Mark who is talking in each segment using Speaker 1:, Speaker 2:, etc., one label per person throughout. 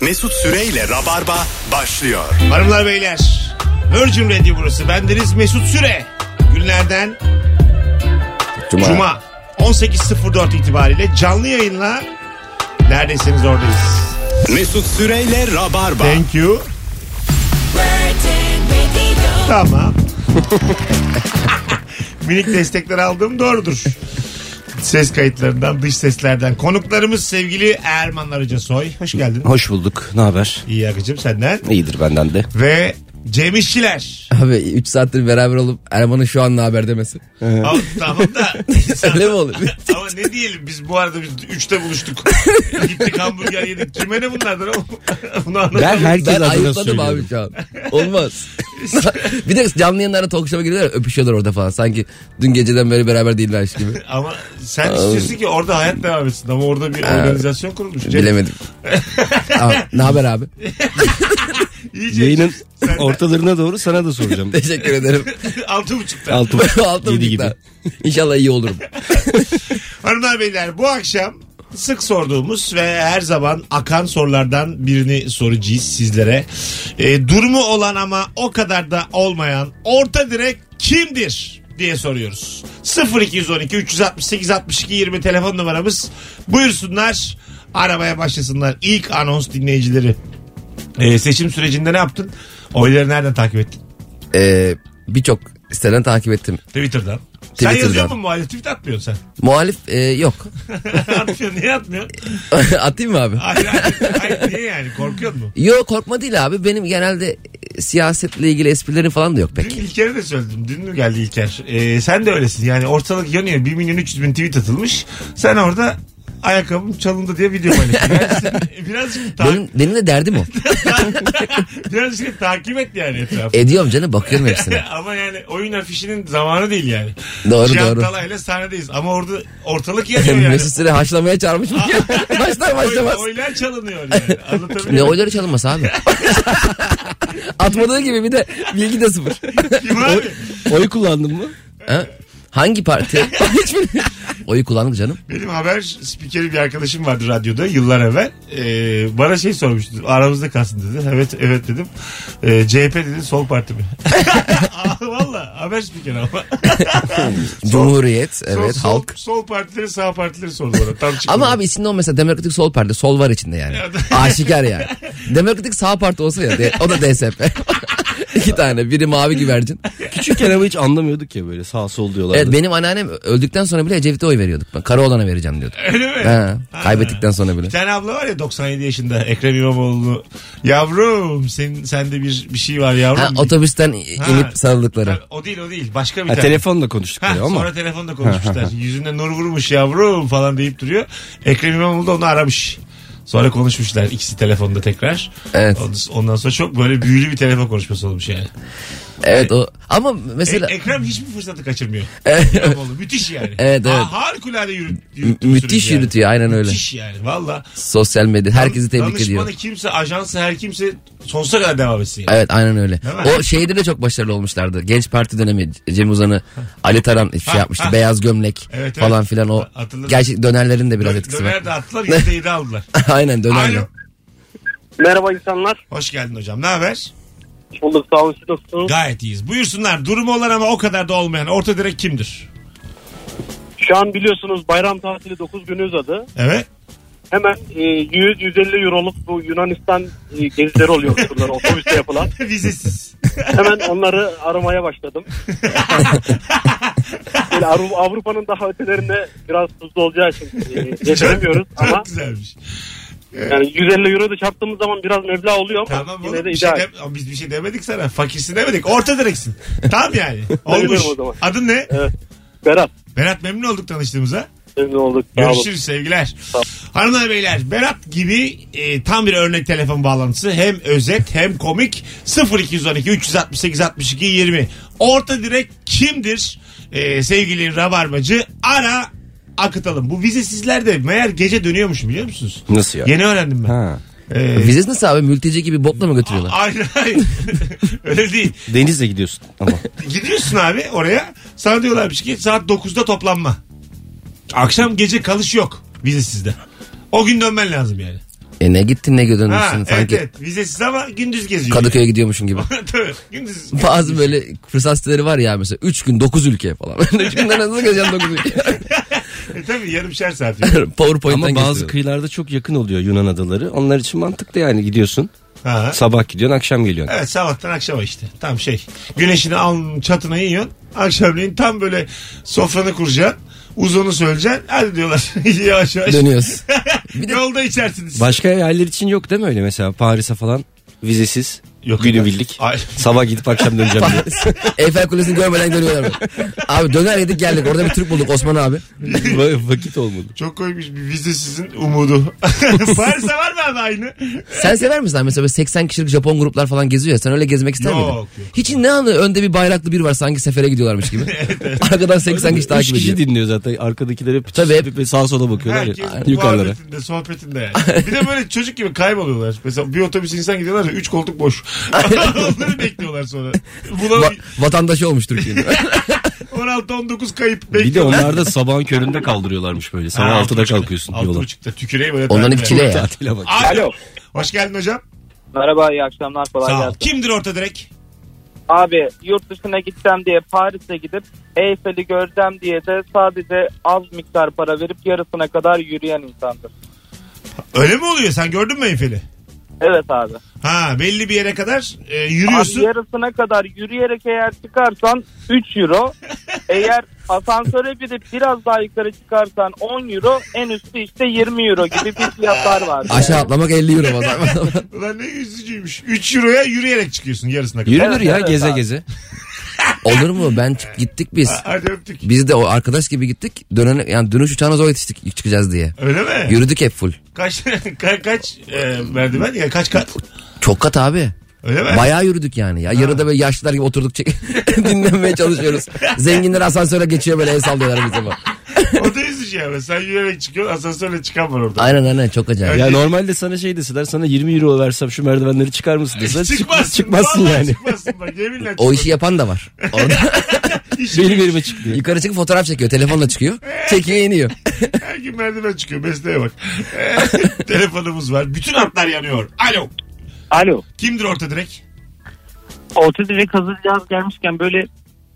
Speaker 1: Mesut Süreyle Rabarba başlıyor.
Speaker 2: Hanımlar beyler Virgin Radio burası. Bendeniz Mesut Süre. Günlerden
Speaker 3: Cuma.
Speaker 2: Cuma 18.04 itibariyle canlı yayınla neredeyseniz oradayız.
Speaker 1: Mesut Süreyle Rabarba.
Speaker 2: Thank you. Tamam. Minik destekler aldığım doğrudur. Ses kayıtlarından, dış seslerden. Konuklarımız sevgili Erman Arıca Soy. Hoş geldin.
Speaker 3: Hoş bulduk. Ne haber?
Speaker 2: İyi akıcım senden.
Speaker 3: İyidir benden de.
Speaker 2: Ve Cem İşçiler.
Speaker 4: Abi 3 saattir beraber olup Erman'ın şu an ne haber demesi.
Speaker 2: Al, tamam da.
Speaker 4: Öyle mi olur?
Speaker 2: Ama ne diyelim biz bu arada biz üçte buluştuk. Gittik hamburger yedik. Kime ne bunlardan oğlum? Bunu anlamadım.
Speaker 3: Ben herkes
Speaker 4: ben
Speaker 3: adına
Speaker 4: ayıpladım abi
Speaker 3: söylüyorum.
Speaker 4: şu an. Olmaz. bir de canlı yayınlarda talk show'a giriyorlar öpüşüyorlar orada falan. Sanki dün geceden beri beraber değillermiş gibi.
Speaker 2: Ama sen istiyorsun ki orada hayat devam etsin. Ama orada bir organizasyon kurulmuş. Cem,
Speaker 4: Bilemedim. Aa, ne haber abi?
Speaker 2: iyice
Speaker 3: Yayının
Speaker 2: Sen-
Speaker 3: ortalarına doğru sana da soracağım.
Speaker 4: Teşekkür ederim.
Speaker 2: altı buçukta.
Speaker 3: Altı,
Speaker 4: Altı
Speaker 3: yedi
Speaker 4: gibi. İnşallah iyi olurum.
Speaker 2: Hanımlar beyler bu akşam sık sorduğumuz ve her zaman akan sorulardan birini soracağız sizlere. Ee, durumu olan ama o kadar da olmayan orta direk kimdir? diye soruyoruz. 0212 368 62 20 telefon numaramız. Buyursunlar aramaya başlasınlar. İlk anons dinleyicileri. Ee, seçim sürecinde ne yaptın? Oyları nereden takip ettin?
Speaker 4: Ee, Birçok siteden takip ettim.
Speaker 2: Twitter'dan. Sen
Speaker 4: Twitter'dan.
Speaker 2: yazıyor musun muhalif? Tweet atmıyorsun
Speaker 4: Muhalif e, yok.
Speaker 2: sen. atmıyorsun. Niye atmıyorsun?
Speaker 4: Atayım mı abi?
Speaker 2: Hayır, hayır, hayır, niye yani? Korkuyor musun?
Speaker 4: Yo korkma değil abi. Benim genelde e, siyasetle ilgili esprilerim falan da yok
Speaker 2: Dün
Speaker 4: pek.
Speaker 2: İlker'e de söyledim. Dün mü geldi İlker? Ee, sen de öylesin. Yani ortalık yanıyor. 1 milyon 300 bin tweet atılmış. Sen orada ayakkabım çalındı diye video paylaşıyorsun. Yani sen birazcık, ta-
Speaker 4: Benim, benim de derdim o.
Speaker 2: birazcık takip et yani etrafı.
Speaker 4: Ediyorum canım bakıyorum hepsine.
Speaker 2: Ama yani oyun afişinin zamanı değil yani.
Speaker 4: E- Doğru,
Speaker 2: Cihan
Speaker 4: doğru.
Speaker 2: Talay'la sahnedeyiz. Ama orada ortalık yanıyor yani.
Speaker 4: Mesut Süre haşlamaya çağırmış mı? Başlar başlamaz.
Speaker 2: Oy- oylar çalınıyor yani.
Speaker 4: Ne
Speaker 2: Anlatabiliyor muyum?
Speaker 4: oyları çalınması abi? Atmadığı gibi bir de bilgi de sıfır.
Speaker 2: Kim abi?
Speaker 3: Oy kullandın mı?
Speaker 4: Ha? Hangi parti? Hiç bilmiyorum. Oyu kullandık canım.
Speaker 2: Benim haber spikeri bir arkadaşım vardı radyoda yıllar evvel. Ee, bana şey sormuştu. Aramızda kalsın dedi. Evet evet dedim. Ee, CHP dedi sol parti mi? Aa, Valla haber spikeri ama.
Speaker 4: Cumhuriyet, evet,
Speaker 2: sol,
Speaker 4: halk.
Speaker 2: Sol, sol partileri sağ partileri sordu bana. Tam çıktı.
Speaker 4: Ama abi içinde o mesela Demokratik Sol Parti. Sol var içinde yani.
Speaker 2: Evet.
Speaker 4: Aşikar yani. Demokratik Sağ Parti olsa ya. de- O da DSP. İki tane. Biri mavi güvercin.
Speaker 3: Küçükken ama hiç anlamıyorduk ya böyle sağ sol diyorlardı.
Speaker 4: Evet benim anneannem öldükten sonra bile Ecevit'e oy veriyorduk. Ben Karaoğlan'a vereceğim diyorduk.
Speaker 2: Öyle mi?
Speaker 4: Ha, kaybettikten sonra bile.
Speaker 2: Bir tane abla var ya 97 yaşında Ekrem İmamoğlu. Yavrum senin sende bir bir şey var yavrum.
Speaker 4: Ha, otobüsten
Speaker 2: Ha.
Speaker 4: inip sarıldıkları.
Speaker 2: Ha, O değil o değil. Başka bir
Speaker 3: Ha,
Speaker 2: tane.
Speaker 3: telefonla konuştuk
Speaker 2: Ha,
Speaker 3: böyle ama.
Speaker 2: sonra telefonda konuşmuşlar. Yüzünde nur vurmuş yavrum falan deyip duruyor. Ekrem İmamoğlu da onu aramış. Sonra konuşmuşlar ikisi telefonda tekrar.
Speaker 4: Evet.
Speaker 2: Ondan- Ondan sonra çok böyle büyülü bir telefon konuşması olmuş yani.
Speaker 4: Evet o. Ama
Speaker 2: E-
Speaker 4: mesela
Speaker 2: Ekrem hiçbir fırsatı kaçırmıyor.
Speaker 4: Evet.
Speaker 2: İmamoğlu müthiş yani.
Speaker 4: Evet, evet.
Speaker 2: Ha, harikulade yürü, yürüttüğü
Speaker 4: müthiş
Speaker 2: süreci yani.
Speaker 4: yürütüyor aynen öyle.
Speaker 2: Müthiş yani valla.
Speaker 4: Sosyal medya herkesi tebrik
Speaker 2: Danışmanı
Speaker 4: ediyor.
Speaker 2: kimse, ajansı her kimse sonsuza kadar devam etsin. Yani.
Speaker 4: Evet aynen öyle.
Speaker 2: Değil mi?
Speaker 4: O şeyde de çok başarılı olmuşlardı. Genç Parti dönemi Cem Uzan'ı Ali Taran şey yapmıştı.
Speaker 2: ha.
Speaker 4: Beyaz gömlek
Speaker 2: Evet, evet.
Speaker 4: falan filan o.
Speaker 2: Hatırladım.
Speaker 4: Gerçi dönerlerin de biraz etkisi var.
Speaker 2: Döner de attılar %7 aldılar.
Speaker 4: aynen dönerle.
Speaker 2: Alo.
Speaker 5: Merhaba insanlar.
Speaker 2: Hoş geldin hocam ne haber?
Speaker 5: Hoş bulduk. Sağ olun. Siz nasılsınız?
Speaker 2: Gayet iyiyiz. Buyursunlar. Durumu olan ama o kadar da olmayan orta direk kimdir?
Speaker 5: Şu an biliyorsunuz bayram tatili 9 günü uzadı.
Speaker 2: Evet.
Speaker 5: Hemen e, 100-150 euroluk bu Yunanistan e, gezileri oluyor bunlar otobüste yapılan.
Speaker 2: Vizesiz.
Speaker 5: Hemen onları aramaya başladım. Böyle Avru- Avrupa'nın daha ötelerinde biraz tuzlu olacağı için e, geçiremiyoruz
Speaker 2: Çok
Speaker 5: ama
Speaker 2: güzelmiş.
Speaker 5: yani 150 euro da çarptığımız zaman biraz meblağ oluyor ama
Speaker 2: Tamam
Speaker 5: yine
Speaker 2: oğlum.
Speaker 5: de
Speaker 2: Bir şey
Speaker 5: ideal.
Speaker 2: de- Ama biz bir şey demedik sana. Fakirsin demedik. Orta direksin. Tamam yani. Olmuş.
Speaker 5: Sayılırım o zaman.
Speaker 2: Adın ne?
Speaker 5: Berat
Speaker 2: Berat memnun olduk tanıştığımıza.
Speaker 5: memnun olduk. Sağ olun.
Speaker 2: Görüşürüz sevgiler. Hanımlar beyler Berat gibi e, tam bir örnek telefon bağlantısı. Hem özet hem komik. 0212 368 62 20. Orta direk kimdir? E, sevgili Rabarbacı ara akıtalım. Bu vizesizler de meğer gece dönüyormuş biliyor musunuz?
Speaker 3: Nasıl ya?
Speaker 2: Yeni öğrendim ben.
Speaker 3: Ha.
Speaker 2: E,
Speaker 4: Vizesi nasıl abi? Mülteci gibi botla mı götürüyorlar?
Speaker 2: Aynen aynen. Öyle değil.
Speaker 3: Denizle gidiyorsun ama.
Speaker 2: Gidiyorsun abi oraya. Sana diyorlarmış ki saat 9'da toplanma. Akşam gece kalış yok vizesizde. O gün dönmen lazım yani.
Speaker 4: E ne gittin ne gödün
Speaker 2: Ha, evet,
Speaker 4: sanki.
Speaker 2: evet. Vizesiz ama gündüz geziyor.
Speaker 4: Kadıköy'e gidiyormuşum gibi.
Speaker 2: Tabii, gündüz.
Speaker 4: Bazı böyle fırsat siteleri var ya mesela 3 gün 9 ülke falan. 3 günde nasıl gezeceksin 9 ülke?
Speaker 2: E, tabii yarımşer saat.
Speaker 4: PowerPoint'ten
Speaker 3: Ama bazı
Speaker 4: gösteriyor.
Speaker 3: kıyılarda çok yakın oluyor Yunan adaları. Onlar için mantıklı yani gidiyorsun.
Speaker 2: Ha.
Speaker 3: Sabah gidiyorsun akşam geliyorsun.
Speaker 2: Evet sabahtan akşama işte. Tam şey. Güneşini al çatına yiyorsun. Akşamleyin tam böyle sofranı kuracaksın. Uzunu söyleyeceksin. Hadi diyorlar. yavaş yavaş.
Speaker 4: dönüyoruz.
Speaker 2: Yolda içersiniz.
Speaker 3: Başka yerler için yok değil mi öyle mesela Paris'e falan vizesiz.
Speaker 2: Yok,
Speaker 3: Yok, günü
Speaker 2: yok.
Speaker 3: bildik.
Speaker 2: Ay.
Speaker 3: Sabah gidip akşam döneceğim diye.
Speaker 4: Eyfel Kulesi'ni görmeden dönüyorlar. abi döner yedik geldik. Orada bir Türk bulduk Osman abi.
Speaker 3: Va- Vakit olmadı.
Speaker 2: Çok koymuş bir vize sizin umudu. Paris'e var mı abi aynı?
Speaker 4: Sen sever misin abi? mesela böyle 80 kişilik Japon gruplar falan geziyor ya sen öyle gezmek ister
Speaker 2: Yok,
Speaker 4: miydin?
Speaker 2: yok.
Speaker 4: Hiç ne anı önde bir bayraklı biri var sanki sefere gidiyorlarmış gibi. Arkadan 80 kişi
Speaker 3: Üç
Speaker 4: takip
Speaker 3: kişi
Speaker 4: ediyor.
Speaker 3: dinliyor zaten. Arkadakiler hep,
Speaker 4: Tabii hep-
Speaker 3: hep sağa sola bakıyorlar
Speaker 2: Herkes
Speaker 3: ya, hani yukarılara.
Speaker 2: muhabbetinde, sohbetinde yani. Bir de böyle çocuk gibi kayboluyorlar. Mesela bir otobüs insan gidiyorlar ya 3 koltuk boş. Onları bekliyorlar sonra. Bulam
Speaker 4: Va- vatandaşı olmuş Türkiye'nin.
Speaker 2: 16-19 kayıp
Speaker 3: Bir de
Speaker 2: bekliyorlar.
Speaker 3: onlar da sabahın köründe kaldırıyorlarmış böyle. Sabah
Speaker 2: Ha, altı
Speaker 3: 6'da
Speaker 2: buçukta.
Speaker 3: kalkıyorsun
Speaker 2: Altı
Speaker 3: yola.
Speaker 2: buçukta tüküreyim öyle.
Speaker 4: Onların
Speaker 2: tatile.
Speaker 4: iki çile ya.
Speaker 3: Tatile bak.
Speaker 2: Alo.
Speaker 5: Alo.
Speaker 2: Hoş geldin hocam.
Speaker 5: Merhaba iyi akşamlar kolay
Speaker 2: Sağ ol.
Speaker 5: gelsin.
Speaker 2: Kimdir orta direk?
Speaker 5: Abi yurt dışına gideceğim diye Paris'e gidip Eyfel'i göreceğim diye de sadece az miktar para verip yarısına kadar yürüyen insandır.
Speaker 2: Öyle mi oluyor? Sen gördün mü Eyfel'i?
Speaker 5: Evet abi.
Speaker 2: Ha belli bir yere kadar e,
Speaker 5: Abi
Speaker 2: yürüyorsun.
Speaker 5: yarısına kadar yürüyerek eğer çıkarsan 3 euro. eğer asansöre binip biraz daha yukarı çıkarsan 10 euro. En üstü işte 20 euro gibi bir fiyatlar var.
Speaker 4: Aşağı atlamak 50 euro falan.
Speaker 2: Ulan ne üzücüymüş. 3 euroya yürüyerek çıkıyorsun yarısına kadar.
Speaker 3: Yürünür
Speaker 5: Evet,
Speaker 3: ya
Speaker 5: evet
Speaker 3: geze
Speaker 5: abi.
Speaker 3: geze.
Speaker 4: Olur mu? Ben çık- gittik biz.
Speaker 2: Hadi öptük.
Speaker 4: Biz de o arkadaş gibi gittik. Dönen yani dönüş uçağına zor yetiştik çıkacağız diye.
Speaker 2: Öyle mi?
Speaker 4: Yürüdük hep full.
Speaker 2: Kaç ka- kaç e, merdiven ya kaç kat?
Speaker 4: Çok kat abi.
Speaker 2: Öyle mi?
Speaker 4: Bayağı yürüdük yani. Ya yarıda böyle yaşlılar gibi oturduk çek- dinlenmeye çalışıyoruz. Zenginler asansöre geçiyor böyle el sallıyorlar bize falan.
Speaker 2: o da üzücü ya. Sen yürüyerek çıkıyorsun asansörle çıkan var orada.
Speaker 4: Aynen aynen çok acayip.
Speaker 3: Ya normalde sana şey deseler sana 20 euro versem şu merdivenleri çıkar mısın deseler çık-
Speaker 2: Çıkmazsın.
Speaker 3: çıkmazsın
Speaker 2: vallahi
Speaker 3: yani.
Speaker 2: Çıkmazsın bak yeminle
Speaker 4: O şey- işi yapan da var. Orada
Speaker 2: İşi-
Speaker 3: Benim elime çık diyor.
Speaker 4: yukarı çıkıp fotoğraf çekiyor. Telefonla çıkıyor. Çekiyor iniyor.
Speaker 2: Her gün merdiven çıkıyor. Mesleğe bak. Telefonumuz var. Bütün hatlar yanıyor. Alo.
Speaker 5: Alo.
Speaker 2: Kimdir orta direk?
Speaker 5: Orta direkt hazır yaz gelmişken böyle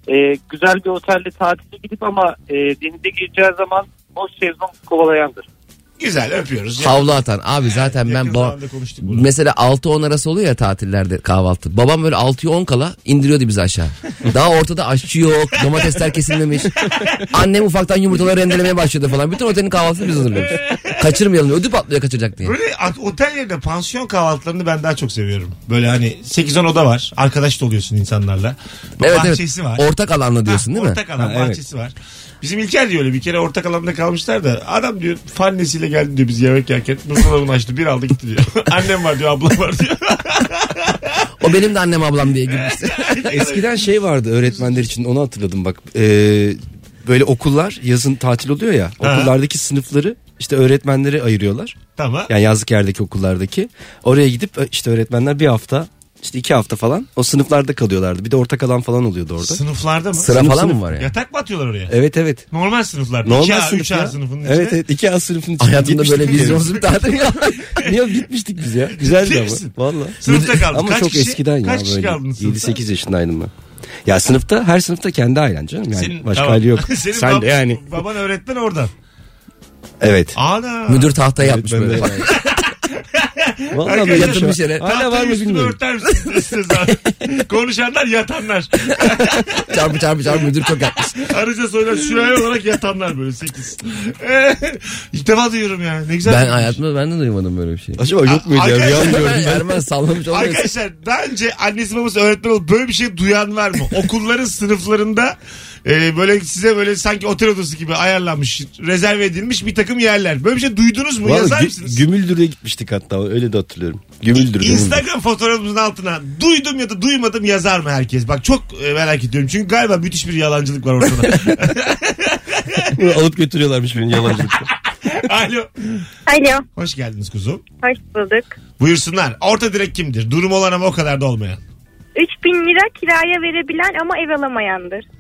Speaker 5: e, güzel bir otelde tatile gidip ama e, denize gireceği zaman boş şezlong kovalayandır.
Speaker 2: Güzel öpüyoruz.
Speaker 4: Havlu atan. Abi zaten ben
Speaker 2: Yakın
Speaker 4: ba-
Speaker 2: zamanda konuştuk bunu.
Speaker 4: Mesela 6-10 arası oluyor ya tatillerde kahvaltı. Babam böyle 6'yı 10 kala indiriyordu bizi aşağı. Daha ortada aşçı yok, domatesler kesilmemiş. Annem ufaktan yumurtaları rendelemeye başladı falan. Bütün otelin kahvaltısını biz hazırlıyoruz. Kaçırmayalım diye, ödü patlıyor kaçacak diye.
Speaker 2: Böyle at- otel yerine pansiyon kahvaltılarını ben daha çok seviyorum. Böyle hani 8-10 oda var. Arkadaş da oluyorsun insanlarla. Bir
Speaker 4: Evet evet.
Speaker 2: bahçesi var.
Speaker 4: Ortak alanla diyorsun değil mi?
Speaker 2: Ortak alan
Speaker 3: Ha, evet.
Speaker 2: bahçesi var. Bizim İlker diyor öyle bir kere ortak alanda kalmışlar da adam diyor fannesiyle geldi diyor biz yemek yerken buzdolabını açtı bir aldı gitti diyor. Annem var diyor ablam var diyor.
Speaker 4: O benim de annem ablam diye girmişti.
Speaker 3: Eskiden şey vardı öğretmenler için onu hatırladım bak. Ee, böyle okullar yazın tatil oluyor ya. Okullardaki sınıfları işte öğretmenlere ayırıyorlar.
Speaker 2: tamam.
Speaker 3: Yani yazlık yerdeki okullardaki. Oraya gidip işte öğretmenler bir hafta işte iki hafta falan o sınıflarda kalıyorlardı. Bir de ortak alan falan oluyordu orada.
Speaker 2: Sınıflarda mı?
Speaker 4: Sıra
Speaker 3: Sınıf,
Speaker 4: falan mı
Speaker 3: sınıf.
Speaker 4: var ya?
Speaker 2: Yatak mı atıyorlar oraya?
Speaker 3: Evet evet.
Speaker 2: Normal sınıflar.
Speaker 3: Normal
Speaker 2: 2A,
Speaker 3: sınıf
Speaker 2: 3A
Speaker 3: ya.
Speaker 2: sınıfının içinde.
Speaker 3: Evet evet 2A sınıfının içinde.
Speaker 4: Hayatımda böyle
Speaker 3: Gitmiştik
Speaker 4: vizyonsuz bir tatil ya.
Speaker 3: yani. Niye gitmiştik biz ya? Güzeldi
Speaker 2: Gitmişsin.
Speaker 3: ama. Valla.
Speaker 2: Sınıfta kaldın.
Speaker 3: Ama
Speaker 2: Kaç
Speaker 3: çok
Speaker 2: kişi-
Speaker 3: eskiden ya
Speaker 2: kaç kişi
Speaker 3: böyle.
Speaker 2: kaldın sınıfta?
Speaker 3: 7-8 yaşındaydım ben. Ya sınıfta her sınıfta kendi ailen canım yani
Speaker 2: Senin-
Speaker 3: başka
Speaker 2: tamam.
Speaker 3: aile yok.
Speaker 2: Senin
Speaker 3: Sen de
Speaker 2: bab-
Speaker 3: yani
Speaker 2: Baban öğretmen oradan.
Speaker 3: evet.
Speaker 2: Ana.
Speaker 4: Müdür tahtaya yapmış
Speaker 3: ben de-
Speaker 4: böyle.
Speaker 3: Valla
Speaker 2: Arkadaşlar,
Speaker 3: böyle
Speaker 4: yatın bir yere.
Speaker 3: Hala var
Speaker 2: Tahtayı
Speaker 3: mı
Speaker 2: üstüme
Speaker 3: bilmiyorum.
Speaker 2: örter misiniz siz abi? Konuşanlar yatanlar.
Speaker 4: çarpı çarpı çarpı müdür çok yapmış.
Speaker 2: Arıca soylar süreli olarak yatanlar böyle 8. İlk defa duyuyorum ya. Ne güzel.
Speaker 4: Ben
Speaker 2: bir-
Speaker 4: hayatımda ben de duymadım böyle bir şey.
Speaker 3: Acaba yok muydu ya?
Speaker 2: arkadaşlar-
Speaker 3: Rüya mı gördüm?
Speaker 4: Ben Erman sallamış olmuyor.
Speaker 2: Arkadaşlar daha önce annesi babası öğretmen olup böyle bir şey duyan var mı? Okulların sınıflarında e, böyle size böyle sanki otel odası gibi ayarlanmış, rezerve edilmiş bir takım yerler. Böyle bir şey duydunuz mu?
Speaker 3: Valla
Speaker 2: Yazar
Speaker 3: Gü-
Speaker 2: mısınız?
Speaker 3: Gümüldür'e gitmiştik hatta öyle de hatırlıyorum. Gümüldür. Gümüldür.
Speaker 2: Instagram fotoğrafımızın altına duydum ya da duymadım yazar mı herkes? Bak çok e, merak ediyorum. Çünkü galiba müthiş bir yalancılık var ortada.
Speaker 3: Alıp götürüyorlarmış beni yalancılıkla.
Speaker 2: Alo.
Speaker 6: Alo,
Speaker 2: Hoş geldiniz kuzum.
Speaker 6: hoş bulduk.
Speaker 2: Buyursunlar. Orta direk kimdir? Durum olan ama o kadar da olmayan.
Speaker 6: 3000 lira kiraya verebilen ama ev alamayandır.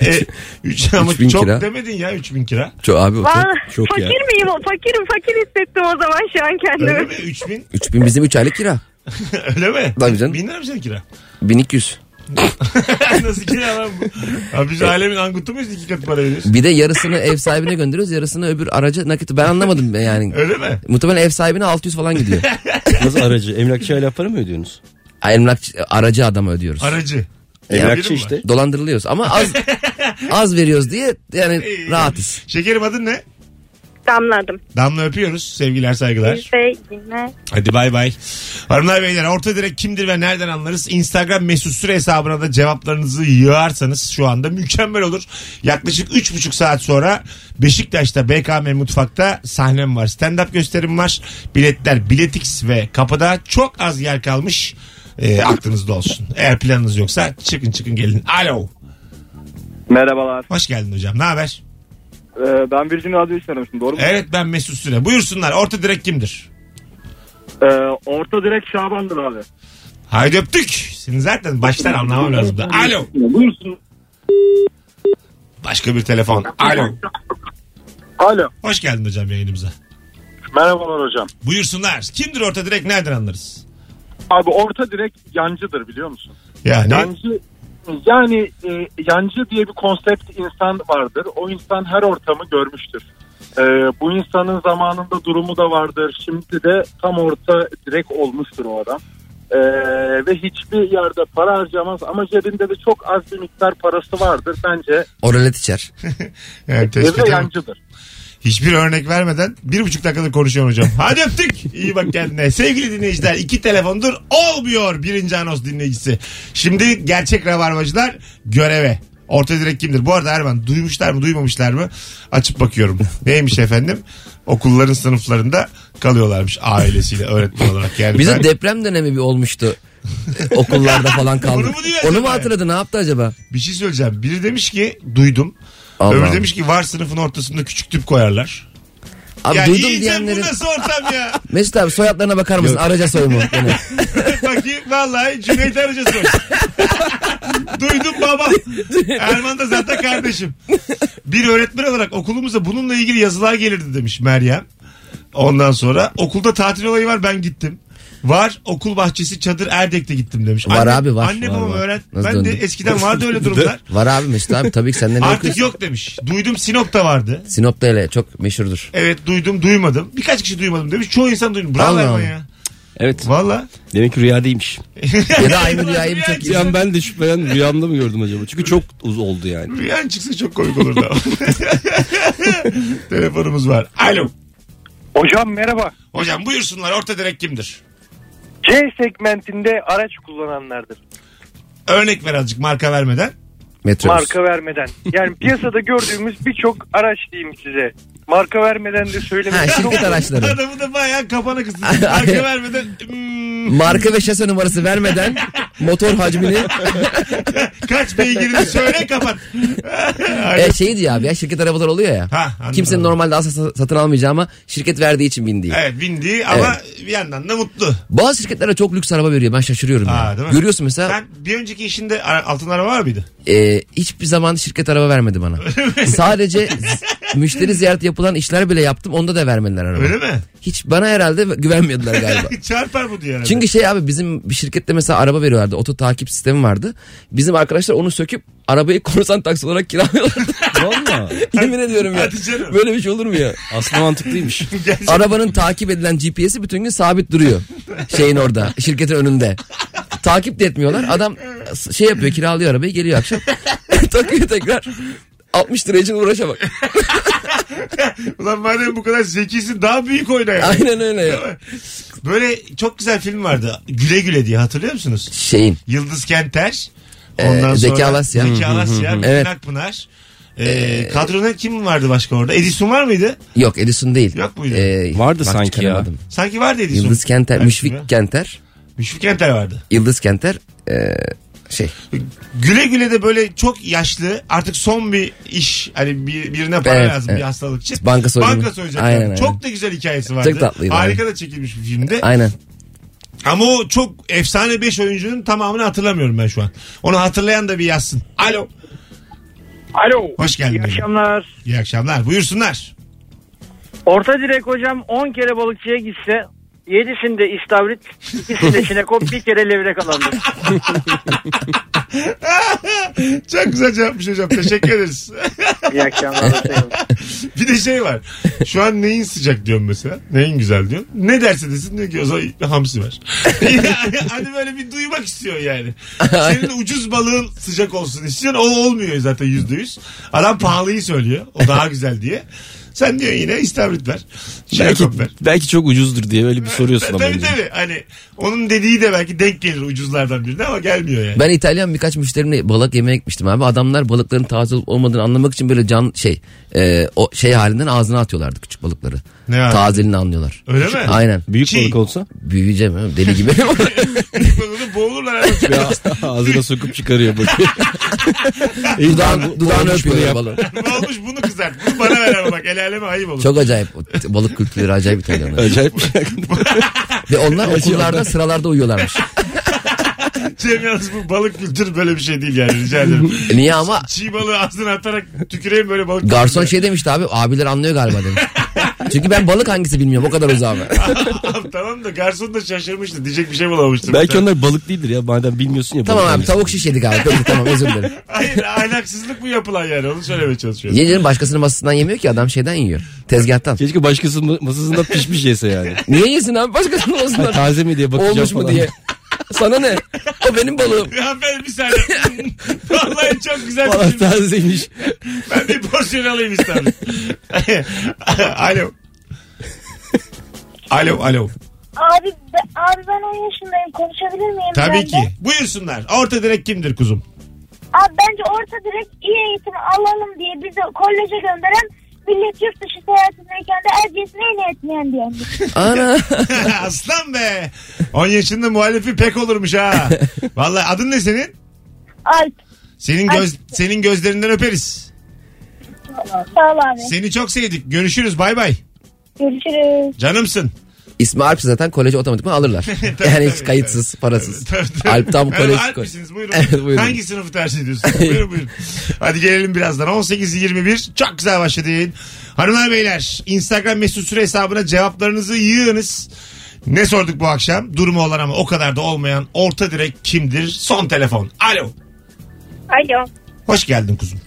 Speaker 2: E, üç, ama
Speaker 4: 3000
Speaker 2: çok
Speaker 4: kira.
Speaker 2: demedin ya 3000 kira.
Speaker 4: Çok abi o çok,
Speaker 6: Vallahi
Speaker 4: çok
Speaker 6: fakir
Speaker 4: ya.
Speaker 6: miyim? O- Fakirim fakir hissettim o zaman şu an
Speaker 2: Öyle
Speaker 6: kendimi.
Speaker 2: mi? 3000
Speaker 4: 3000 bizim 3 aylık kira.
Speaker 2: öyle mi?
Speaker 4: Tabii canım.
Speaker 2: Bin lira mı senin kira?
Speaker 4: 1200.
Speaker 2: Nasıl kira lan bu? Abi
Speaker 4: E-
Speaker 2: biz alemin angutu muyuz iki kat para veriyoruz?
Speaker 4: Bir de yarısını ev sahibine gönderiyoruz yarısını öbür araca nakit. Ben anlamadım yani.
Speaker 2: Öyle mi?
Speaker 4: Muhtemelen ev sahibine 600 falan gidiyor.
Speaker 3: Nasıl aracı? Emlakçı hala para mı ödüyorsunuz?
Speaker 4: Emlakçı aracı adama ödüyoruz.
Speaker 2: Aracı.
Speaker 3: Emlakçı
Speaker 2: birim
Speaker 3: işte.
Speaker 4: Dolandırılıyoruz ama az az veriyoruz diye yani
Speaker 2: İyi.
Speaker 4: rahatız.
Speaker 2: Şekerim adın ne?
Speaker 6: Damladım.
Speaker 2: Damla öpüyoruz. Sevgiler saygılar.
Speaker 6: Biz de yine
Speaker 2: Hadi bay bay. Hanımlar beyler orta direkt kimdir ve nereden anlarız? Instagram mesut süre hesabına da cevaplarınızı yığarsanız şu anda mükemmel olur. Yaklaşık 3,5 saat sonra Beşiktaş'ta BKM Mutfak'ta sahnem var. Stand-up gösterim var. Biletler Biletix ve kapıda çok az yer kalmış. E, aklınızda olsun. Eğer planınız yoksa çıkın çıkın gelin. Alo.
Speaker 5: Merhabalar.
Speaker 2: Hoş geldin hocam. Ne haber?
Speaker 5: Ee, ben Virgin Radyo'yu sanırmıştım doğru mu?
Speaker 2: Evet ben Mesut Süre. Buyursunlar. Orta direkt kimdir?
Speaker 5: Ee, orta direkt Şaban'dır abi.
Speaker 2: Haydi öptük. Seni zaten baştan anlamam lazım da. Alo.
Speaker 5: Buyursun.
Speaker 2: Başka bir telefon. Alo.
Speaker 5: Alo.
Speaker 2: Hoş geldin hocam yayınımıza.
Speaker 5: Merhabalar hocam.
Speaker 2: Buyursunlar. Kimdir orta direkt nereden anlarız?
Speaker 5: Abi orta direkt yancıdır biliyor musun?
Speaker 2: Yani
Speaker 5: Yancı yani e, yancı diye bir konsept insan vardır. O insan her ortamı görmüştür. E, bu insanın zamanında durumu da vardır. Şimdi de tam orta direkt olmuştur o adam. E, ve hiçbir yerde para harcamaz ama cebinde de çok az bir miktar parası vardır. Bence
Speaker 4: Oralet içer.
Speaker 2: evet, tespit
Speaker 5: evde
Speaker 2: ama
Speaker 5: yancıdır.
Speaker 2: Hiçbir örnek vermeden bir buçuk dakikadır konuşuyorum hocam. Hadi öptük. İyi bak kendine. Sevgili dinleyiciler iki telefondur olmuyor birinci anons dinleyicisi. Şimdi gerçek rabarbacılar göreve. Orta direkt kimdir? Bu arada Erman duymuşlar mı duymamışlar mı? Açıp bakıyorum. Neymiş efendim? Okulların sınıflarında kalıyorlarmış ailesiyle öğretmen olarak. Yani
Speaker 4: Bizim
Speaker 2: ben-
Speaker 4: deprem dönemi bir olmuştu. Okullarda falan kaldı.
Speaker 2: Onu mu diyor
Speaker 4: Onu mu
Speaker 2: acaba?
Speaker 4: hatırladı ne yaptı acaba?
Speaker 2: Bir şey söyleyeceğim. Biri demiş ki duydum.
Speaker 4: Allah
Speaker 2: Öbürü
Speaker 4: Allah.
Speaker 2: demiş ki var sınıfın ortasında küçük tüp koyarlar.
Speaker 4: Abi
Speaker 2: ya
Speaker 4: duydum
Speaker 2: iyice
Speaker 4: diyenlerin.
Speaker 2: bu nasıl ortam ya?
Speaker 4: Mesut abi soyadlarına bakar mısın? Araca Hani soy mu? Yani.
Speaker 2: Bakayım vallahi Cüneyt Arıca soy. duydum babam. Erman da zaten kardeşim. Bir öğretmen olarak okulumuza bununla ilgili yazılar gelirdi demiş Meryem. Ondan sonra okulda tatil olayı var ben gittim. Var okul bahçesi çadır Erdek'te gittim demiş.
Speaker 4: Var abi, var.
Speaker 2: Anne
Speaker 4: Var,
Speaker 2: babam
Speaker 4: var.
Speaker 2: öğret.
Speaker 4: Nasıl
Speaker 2: Ben de
Speaker 4: döndün?
Speaker 2: eskiden vardı öyle durumlar.
Speaker 4: Var abi Mesut abi tabii ki senden ne
Speaker 2: Artık
Speaker 4: okuyorsun?
Speaker 2: yok demiş. Duydum Sinop'ta vardı.
Speaker 4: Sinop'ta hele çok meşhurdur.
Speaker 2: Evet duydum duymadım. Birkaç kişi duymadım demiş. Çoğu insan duymadı. Bravo
Speaker 4: Allah
Speaker 2: Erman
Speaker 4: Allah.
Speaker 2: ya.
Speaker 3: Evet.
Speaker 2: Valla.
Speaker 3: Demek ki rüya değilmiş.
Speaker 4: Ya da aynı rüyayı bir çok
Speaker 3: Bir an ben de şüphelen rüyamda mı gördüm acaba? Çünkü çok uz oldu yani.
Speaker 2: Rüyan çıksa çok komik olurdu ama. Telefonumuz var. Alo.
Speaker 5: Hocam merhaba.
Speaker 2: Hocam buyursunlar orta direk kimdir?
Speaker 5: C segmentinde araç kullananlardır.
Speaker 2: Örnek ver azıcık marka vermeden.
Speaker 4: metrobüs.
Speaker 5: Marka vermeden. Yani piyasada gördüğümüz birçok araç diyeyim size. Marka vermeden de
Speaker 4: Ha,
Speaker 5: söylemek çok
Speaker 4: şirket araçları.
Speaker 2: Adamı da bayağı kafana kıstın. Marka vermeden. hmm,
Speaker 4: Marka ve şase numarası vermeden motor hacmini
Speaker 2: kaç beygirini söyle kapat. Alo.
Speaker 4: e, şey diyor abi ya şirket arabalar oluyor ya.
Speaker 2: Ha, anladım.
Speaker 4: Kimsenin normalde asla satın almayacağı ama şirket verdiği için bindiği.
Speaker 2: Evet bindi ama bir yandan da mutlu.
Speaker 4: Bazı şirketlere çok lüks araba veriyor ben şaşırıyorum
Speaker 2: Aa,
Speaker 4: ya.
Speaker 2: değil mi?
Speaker 4: Görüyorsun mesela
Speaker 2: Sen bir önceki işinde ara- altın araba var mıydı?
Speaker 4: e, hiçbir zaman şirket araba vermedi bana. Sadece z- müşteri ziyareti yapılan işler bile yaptım onda da vermediler araba.
Speaker 2: Öyle mi?
Speaker 4: Hiç bana herhalde güvenmediler galiba.
Speaker 2: Çarpar bu diyor herhalde.
Speaker 4: Çünkü şey abi bizim bir şirkette mesela araba veriyorlardı. Oto takip sistemi vardı. Bizim arkadaşlar onu söküp arabayı korsan taksi olarak kiralıyorlardı.
Speaker 3: Valla.
Speaker 4: Yemin ediyorum ya.
Speaker 2: Hadi canım.
Speaker 4: Böyle bir şey olur mu ya?
Speaker 3: Aslında mantıklıymış.
Speaker 2: Gerçekten.
Speaker 4: Arabanın takip edilen GPS'i bütün gün sabit duruyor. Şeyin orada, şirketin önünde. Takip de etmiyorlar. Adam şey yapıyor, kiralıyor arabayı, geliyor akşam. takıyor tekrar. 60 lira için uğraşa bak.
Speaker 2: Ulan madem bu kadar zekisin daha büyük oyna yani.
Speaker 4: Aynen öyle ya.
Speaker 2: Böyle çok güzel film vardı. Güle güle diye hatırlıyor musunuz?
Speaker 4: Şeyin.
Speaker 2: Yıldız Kenter.
Speaker 4: Ee, Zeki Alasya.
Speaker 2: Zeki Alasya. Metin
Speaker 4: Evet.
Speaker 2: Akpınar. Ee, kadroda kim vardı başka orada? Edison var mıydı?
Speaker 4: Yok Edison değil.
Speaker 2: Yok muydu?
Speaker 4: Ee,
Speaker 3: Vardı
Speaker 4: bak
Speaker 3: sanki ya.
Speaker 4: çıkaramadım.
Speaker 2: Sanki vardı Edison.
Speaker 4: Yıldız Kenter,
Speaker 2: Ben
Speaker 4: Müşfik
Speaker 2: şimdi-
Speaker 4: Kenter.
Speaker 2: Müşfik Kenter vardı.
Speaker 4: Yıldız Kenter ee, şey.
Speaker 2: Güle güle de böyle çok yaşlı artık son bir iş hani bir, birine para
Speaker 4: Evet,
Speaker 2: lazım
Speaker 4: evet.
Speaker 2: bir hastalık için.
Speaker 4: Banka soygunu.
Speaker 2: Banka soyacaklar.
Speaker 4: Aynen, aynen.
Speaker 2: Çok da güzel hikayesi vardı.
Speaker 4: Çok tatlıydı,
Speaker 2: Harika da çekilmiş bir filmde.
Speaker 4: Aynen.
Speaker 2: Ama o çok efsane 5 oyuncunun tamamını hatırlamıyorum ben şu an. Onu hatırlayan da bir yazsın. Alo.
Speaker 7: Alo.
Speaker 2: Hoş geldin.
Speaker 7: İyi akşamlar.
Speaker 2: İyi akşamlar. Buyursunlar.
Speaker 7: Orta direk hocam 10 kere balıkçıya gitse 7'sinde istavrit, ikisinde çinekop, bir kere levrek alandır.
Speaker 2: Çok güzel cevapmış hocam. Teşekkür ederiz.
Speaker 7: İyi akşamlar.
Speaker 2: bir de şey var. Şu an neyin sıcak diyorum mesela. Neyin güzel diyorum. Ne derse desin diyor ki o zaman hamsi var. hani böyle bir duymak istiyor yani. Senin de ucuz balığın sıcak olsun istiyorsun. O olmuyor zaten yüzde yüz. Adam pahalıyı söylüyor. O daha güzel diye. Sen diyor yine istavrit ver.
Speaker 8: Belki,
Speaker 2: Şakop ver.
Speaker 8: belki çok ucuzdur diye böyle bir soruyorsun ama.
Speaker 2: E, Tabii
Speaker 8: önce.
Speaker 2: tabii. Hani onun dediği de belki denk gelir ucuzlardan birine ama gelmiyor yani.
Speaker 4: Ben İtalyan birkaç müşterimle balık yemeye gitmiştim abi. Adamlar balıkların taze olup olmadığını anlamak için böyle can şey e, o şey halinden ağzına atıyorlardı küçük balıkları.
Speaker 2: Ne abi?
Speaker 4: Tazeliğini anlıyorlar.
Speaker 2: Öyle mi?
Speaker 4: Aynen.
Speaker 8: Büyük
Speaker 2: Çiğ.
Speaker 8: balık olsa
Speaker 4: Büyüyeceğim oğlum, deli gibi.
Speaker 2: Bunu boğulurlar. herhalde.
Speaker 8: ağzına sokup çıkarıyor bakıyor.
Speaker 4: Dudağın, dudağını öpüyor böyle balığı.
Speaker 2: Ne olmuş bunu kızart. Bunu bana ver ama bak. El aleme ayıp olur.
Speaker 4: Çok acayip. O t- Balık kültürleri acayip İtalyanlar.
Speaker 8: Acayip bir şey.
Speaker 4: Ve onlar okullarda sıralarda uyuyorlarmış.
Speaker 2: Cem yalnız bu balık kültürü böyle bir şey değil yani rica ederim.
Speaker 4: E Niye ama
Speaker 2: Çiğ balığı ağzına atarak tüküreyim böyle balık.
Speaker 4: garson
Speaker 2: kültürü.
Speaker 4: şey demişti abi abiler anlıyor galiba demiş. Çünkü ben balık hangisi bilmiyorum o kadar uzağım.
Speaker 2: Abi tamam da garson da şaşırmıştı. Diyecek bir şey bulamamıştı.
Speaker 8: belki onlar balık değildir ya madem bilmiyorsun ya.
Speaker 4: tamam
Speaker 8: balık
Speaker 4: abi
Speaker 8: hangisi.
Speaker 4: tavuk şiş yedik abi Peki, tamam özür dilerim.
Speaker 2: Hayır ahlaksızlık bu yapılan yani onu söylemeye çalışıyorum.
Speaker 4: Yiyeceğin başkasının masasından yemiyor ki adam şeyden yiyor. Tezgahtan.
Speaker 8: Keşke başkasının masasında pişmiş yese yani.
Speaker 4: Niye yesin abi başkasının masasından?
Speaker 8: Taze mi diye bakacağım
Speaker 4: Olmuş mu
Speaker 8: falan.
Speaker 4: diye. Sana ne? O benim balığım.
Speaker 2: Ya ben bir saniye. Vallahi çok güzel
Speaker 8: Falan
Speaker 2: düşünmüş.
Speaker 8: tazeymiş.
Speaker 2: Ben bir porsiyon alayım istedim. alo. Alo alo.
Speaker 9: Abi, be- abi ben 10 yaşındayım konuşabilir miyim? ben
Speaker 2: Tabii
Speaker 9: de?
Speaker 2: ki. Buyursunlar. Orta direk kimdir kuzum?
Speaker 9: Abi bence orta direkt iyi eğitim alalım diye bizi koleje gönderen millet yurt dışı seyahatindeyken de erciyesine yine etmeyen diyen.
Speaker 4: Ana.
Speaker 2: Aslan be. 10 yaşında muhalefi pek olurmuş ha. Vallahi adın ne senin?
Speaker 9: Alp.
Speaker 2: Senin göz senin gözlerinden öperiz.
Speaker 9: Sağ ol abi.
Speaker 2: Seni çok sevdik. Görüşürüz. Bay bay.
Speaker 9: Görüşürüz.
Speaker 2: Canımsın.
Speaker 4: İsmi Alp zaten koleji otomatikman alırlar. yani hiç kayıtsız, parasız. Alp tam
Speaker 2: Merhaba,
Speaker 4: kolej.
Speaker 2: Ee, Alp misiniz? Buyurun.
Speaker 4: Evet, buyurun.
Speaker 2: Hangi sınıfı tercih ediyorsunuz? buyurun buyurun. Hadi gelelim birazdan. 18-21 çok güzel başladı yayın. Hanımlar beyler Instagram mesut süre hesabına cevaplarınızı yığınız. Ne sorduk bu akşam? Durumu olan ama o kadar da olmayan orta direk kimdir? Son telefon. Alo.
Speaker 6: Alo.
Speaker 2: Hoş geldin kuzum.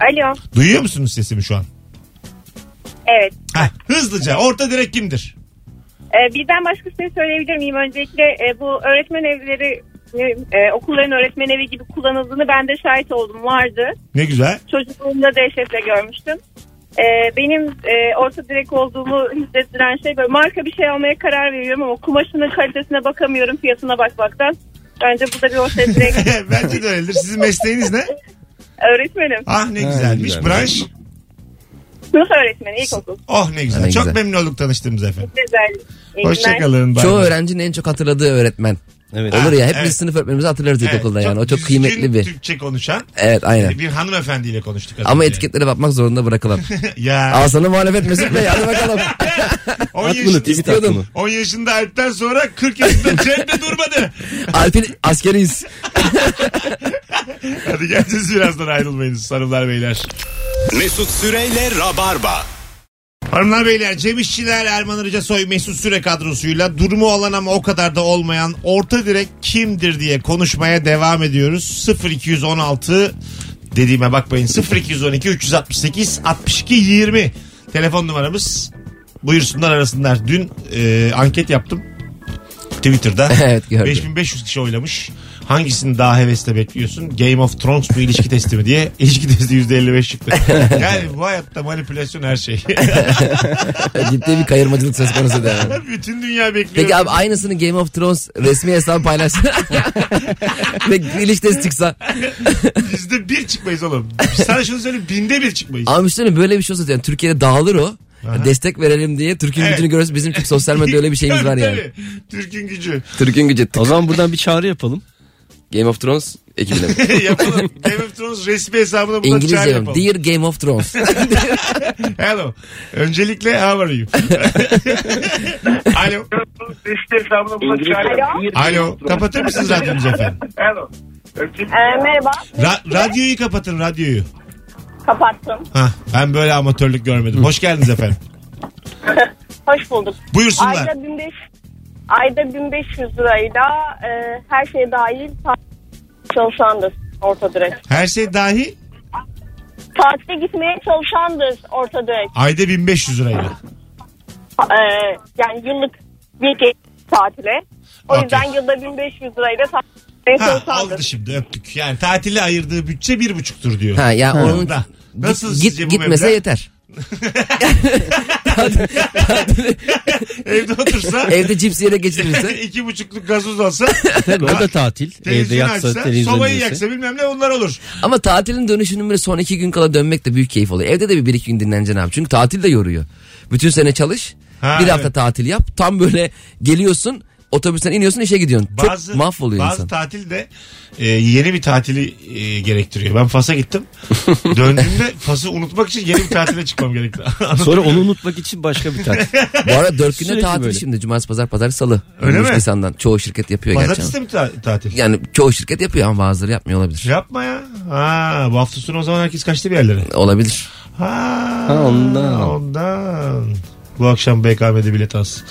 Speaker 6: Alo.
Speaker 2: Duyuyor musunuz sesimi şu an?
Speaker 6: Evet.
Speaker 2: Heh, hızlıca orta direk kimdir?
Speaker 6: Ee, birden başkasını söyleyebilir miyim? Öncelikle e, bu öğretmen evleri e, okulların öğretmen evi gibi kullanıldığını ben de şahit oldum. Vardı.
Speaker 2: Ne güzel.
Speaker 6: Çocukluğumda dehşetle görmüştüm. Ee, benim e, orta direk olduğumu hissettiren şey böyle marka bir şey almaya karar veriyorum ama kumaşının kalitesine bakamıyorum fiyatına bakmaktan. Bence bu da bir orta direk
Speaker 2: Bence de öyledir. Sizin mesleğiniz ne?
Speaker 6: öğretmenim.
Speaker 2: Ah ne
Speaker 8: Ha,
Speaker 2: güzelmiş.
Speaker 8: güzel.
Speaker 2: Branş.
Speaker 6: Sınıf öğretmeni ilkokul.
Speaker 2: Oh ne güzel.
Speaker 4: Ha, ne
Speaker 2: Çok
Speaker 4: güzel.
Speaker 2: memnun olduk tanıştığımız efendim.
Speaker 6: Güzel. İyi günler.
Speaker 2: Hoşçakalın.
Speaker 4: Çoğu öğrencinin en çok hatırladığı öğretmen.
Speaker 8: Evet.
Speaker 4: Olur ya
Speaker 2: Ha,
Speaker 4: hepimiz
Speaker 2: evet.
Speaker 4: sınıf öğretmenimizi hatırlarız ilkokulda yani. O çok
Speaker 2: düzgün
Speaker 4: kıymetli bir.
Speaker 2: Türkçe konuşan
Speaker 4: Evet aynen.
Speaker 2: bir hanımefendiyle konuştuk. az
Speaker 4: Ama
Speaker 2: önce.
Speaker 4: etiketlere bakmak zorunda bırakılan.
Speaker 2: Ya
Speaker 4: Al sana muhalefet Mesut Bey hadi bakalım.
Speaker 2: 10
Speaker 8: At bunu
Speaker 2: yaşında,
Speaker 8: tweet at bunu.
Speaker 2: 10 yaşında Alp'ten sonra 40 yaşında Cem'de durmadı.
Speaker 4: Alp'in askeriyiz.
Speaker 2: Hadi geleceğiz birazdan ayrılmayınız sarılar beyler.
Speaker 1: Mesut Süreyle Rabarba.
Speaker 2: Hanımlar beyler Cem İşçiler, Erman Arıca Soy, Mesut Süre kadrosuyla durumu olan ama o kadar da olmayan orta direk kimdir diye konuşmaya devam ediyoruz. 0216 dediğime bakmayın 0212 368 62 20 telefon numaramız buyursunlar arasınlar. Dün e, anket yaptım Twitter'da.
Speaker 4: Evet, gördüm.
Speaker 2: 5500 kişi oylamış. Hangisini daha hevesle bekliyorsun? Game of Thrones mu ilişki testi mi diye. İlişki testi %55 çıktı. Yani bu hayatta manipülasyon her şey.
Speaker 4: Ciddi bir kayırmacılık söz konusu da. yani.
Speaker 2: Bütün dünya bekliyor.
Speaker 4: Peki abi aynısını Game of Thrones resmi hesabı paylaşsın. Ve ilişkisi çıksa.
Speaker 2: Bizde bir çıkmayız oğlum. Sana şunu söyleyeyim binde bir çıkmayız.
Speaker 4: Ama düşünsene böyle bir şey olsa yani Türkiye'de dağılır o.
Speaker 2: Aha.
Speaker 4: Destek verelim diye Türk'ün
Speaker 2: Evet.
Speaker 4: gücünü görürsün. Bizim Türk sosyal medyada öyle bir şeyimiz
Speaker 2: Tabii,
Speaker 4: var yani.
Speaker 2: tabii. Türk'ün gücü.
Speaker 4: Türk'ün gücü.
Speaker 8: O zaman buradan bir çağrı yapalım.
Speaker 4: Game of Thrones ekibine. mi?
Speaker 2: yapalım. Game of Thrones resmi hesabına bunu
Speaker 4: İngilizce
Speaker 2: çağrı
Speaker 4: yapalım.
Speaker 2: yapalım.
Speaker 4: Dear Game of Thrones.
Speaker 2: Hello. Öncelikle how are you? Alo.
Speaker 7: İngilizce.
Speaker 2: Alo. Kapatır mısınız radyonuzu efendim?
Speaker 6: Ee, merhaba.
Speaker 2: Ra- radyoyu kapatın radyoyu.
Speaker 6: Kapattım.
Speaker 2: Hah, ben böyle amatörlük görmedim. Hoş geldiniz efendim.
Speaker 6: Hoş bulduk.
Speaker 2: Buyursunlar.
Speaker 6: Ayda 1500 ayda 1500 lirayla e, her şey dahil ta- çalışandır orta direkt.
Speaker 2: Her şey dahi
Speaker 6: Tatile gitmeye çalışandır orta direkt.
Speaker 2: ayda 1500 lirayla.
Speaker 6: E, yani yıllık bir ge- tatile. O
Speaker 2: Okey.
Speaker 6: yüzden yılda 1500 lirayla tatile
Speaker 2: Ha, aldı
Speaker 6: çalışandır.
Speaker 2: şimdi öptük. Yani tatile ayırdığı bütçe bir buçuktur diyor.
Speaker 4: Ha ya onun
Speaker 2: Da. Nasıl
Speaker 4: git,
Speaker 2: sizce
Speaker 4: git,
Speaker 2: bu
Speaker 4: gitmese
Speaker 2: meblağ?
Speaker 4: yeter.
Speaker 2: Evde otursa
Speaker 4: Evde cips yere geçirirse.
Speaker 2: iki buçukluk gazoz olsa
Speaker 8: Tabii o da tatil. Evde
Speaker 2: televizyon
Speaker 8: yatsa,
Speaker 2: açsa sobayı
Speaker 8: televizyon izlese.
Speaker 2: yaksa bilmem ne onlar olur.
Speaker 4: Ama tatilin dönüşünün böyle son iki gün kala dönmek de büyük keyif oluyor. Evde de bir, bir iki gün dinleneceksin abi. Çünkü tatil de yoruyor. Bütün sene çalış.
Speaker 2: Ha,
Speaker 4: bir hafta
Speaker 2: evet.
Speaker 4: tatil yap. Tam böyle geliyorsun otobüsten iniyorsun işe gidiyorsun.
Speaker 2: Bazı,
Speaker 4: Çok mahvoluyor
Speaker 2: bazı
Speaker 4: insan.
Speaker 2: tatil de e, yeni bir tatili e, gerektiriyor. Ben Fas'a gittim. Döndüğümde Fas'ı unutmak için yeni bir tatile çıkmam gerekti.
Speaker 8: Sonra onu unutmak için başka bir tatil.
Speaker 4: Bu arada dört günde
Speaker 8: Sürekli
Speaker 4: tatil
Speaker 8: böyle.
Speaker 4: şimdi. Cumartesi, pazar, pazar, salı.
Speaker 2: Öyle
Speaker 4: Önümüz
Speaker 2: mi?
Speaker 4: Nisan'dan. Çoğu şirket yapıyor
Speaker 2: Pazartesi
Speaker 4: gerçi.
Speaker 2: de mi ta- tatil?
Speaker 4: ama. Yani çoğu şirket yapıyor ama bazıları yapmıyor olabilir.
Speaker 2: Yapma ya. Ha, bu hafta sonu o zaman herkes kaçtı bir yerlere.
Speaker 4: Olabilir.
Speaker 2: Ha,
Speaker 8: Ha, ondan.
Speaker 2: Ondan. Bu akşam BKM'de bilet az.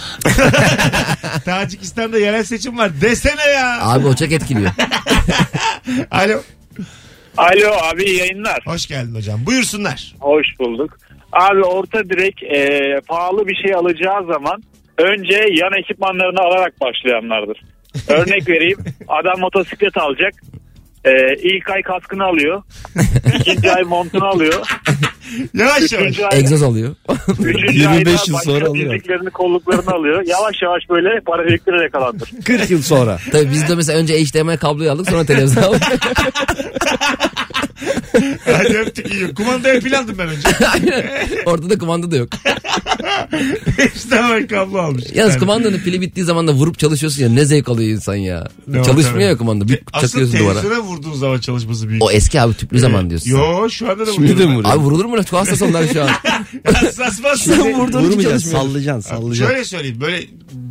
Speaker 2: Tacikistan'da yerel seçim var. Desene ya.
Speaker 4: Abi o çok etkiliyor.
Speaker 2: Alo.
Speaker 5: Alo abi iyi yayınlar.
Speaker 2: Hoş geldin hocam. Buyursunlar.
Speaker 5: Hoş bulduk. Abi orta direk e, pahalı bir şey alacağı zaman önce yan ekipmanlarını alarak başlayanlardır. Örnek vereyim adam motosiklet alacak. E, ilk ay kaskını alıyor. ikinci ay montunu alıyor.
Speaker 2: Yavaş yavaş.
Speaker 5: Üçüncü ay,
Speaker 4: Egzoz alıyor.
Speaker 5: üçüncü
Speaker 8: 25
Speaker 5: ayda
Speaker 8: yıl
Speaker 5: başka
Speaker 8: sonra alıyor.
Speaker 5: dizliklerini kolluklarını alıyor. Yavaş yavaş böyle para biriktirerek alandır.
Speaker 8: 40 yıl sonra.
Speaker 4: Tabii biz de mesela önce HDMI kabloyu aldık sonra televizyon aldık.
Speaker 2: Hadi öptük iyi. Kumandaya pil aldım ben önce.
Speaker 4: Ortada kumanda da yok.
Speaker 2: Hepsi de var kablo almış.
Speaker 4: Yalnız
Speaker 2: Yani.
Speaker 4: kumandanın pili bittiği zaman da vurup çalışıyorsun ya ne zevk alıyor insan ya.
Speaker 2: Ne var tabii.
Speaker 4: Çalışmıyor ya kumanda. Bir
Speaker 2: Asıl
Speaker 4: çakıyorsun duvara.
Speaker 2: televizyona vurduğun zaman çalışması büyük.
Speaker 4: O eski abi tüplü
Speaker 2: Ee,
Speaker 4: zaman diyorsun. sen.
Speaker 2: Yo şu anda da
Speaker 8: Şimdi de mi
Speaker 2: vuruyorum.
Speaker 8: vuruyor?
Speaker 4: Abi vurulur mu? lan? Çok hassas onlar şu an.
Speaker 2: Hassas
Speaker 4: Sen
Speaker 2: basma.
Speaker 4: vurduğun için
Speaker 8: Vurmayacaksın
Speaker 4: çalışmıyor.
Speaker 8: sallayacaksın sallayacaksın.
Speaker 2: Şöyle söyleyeyim böyle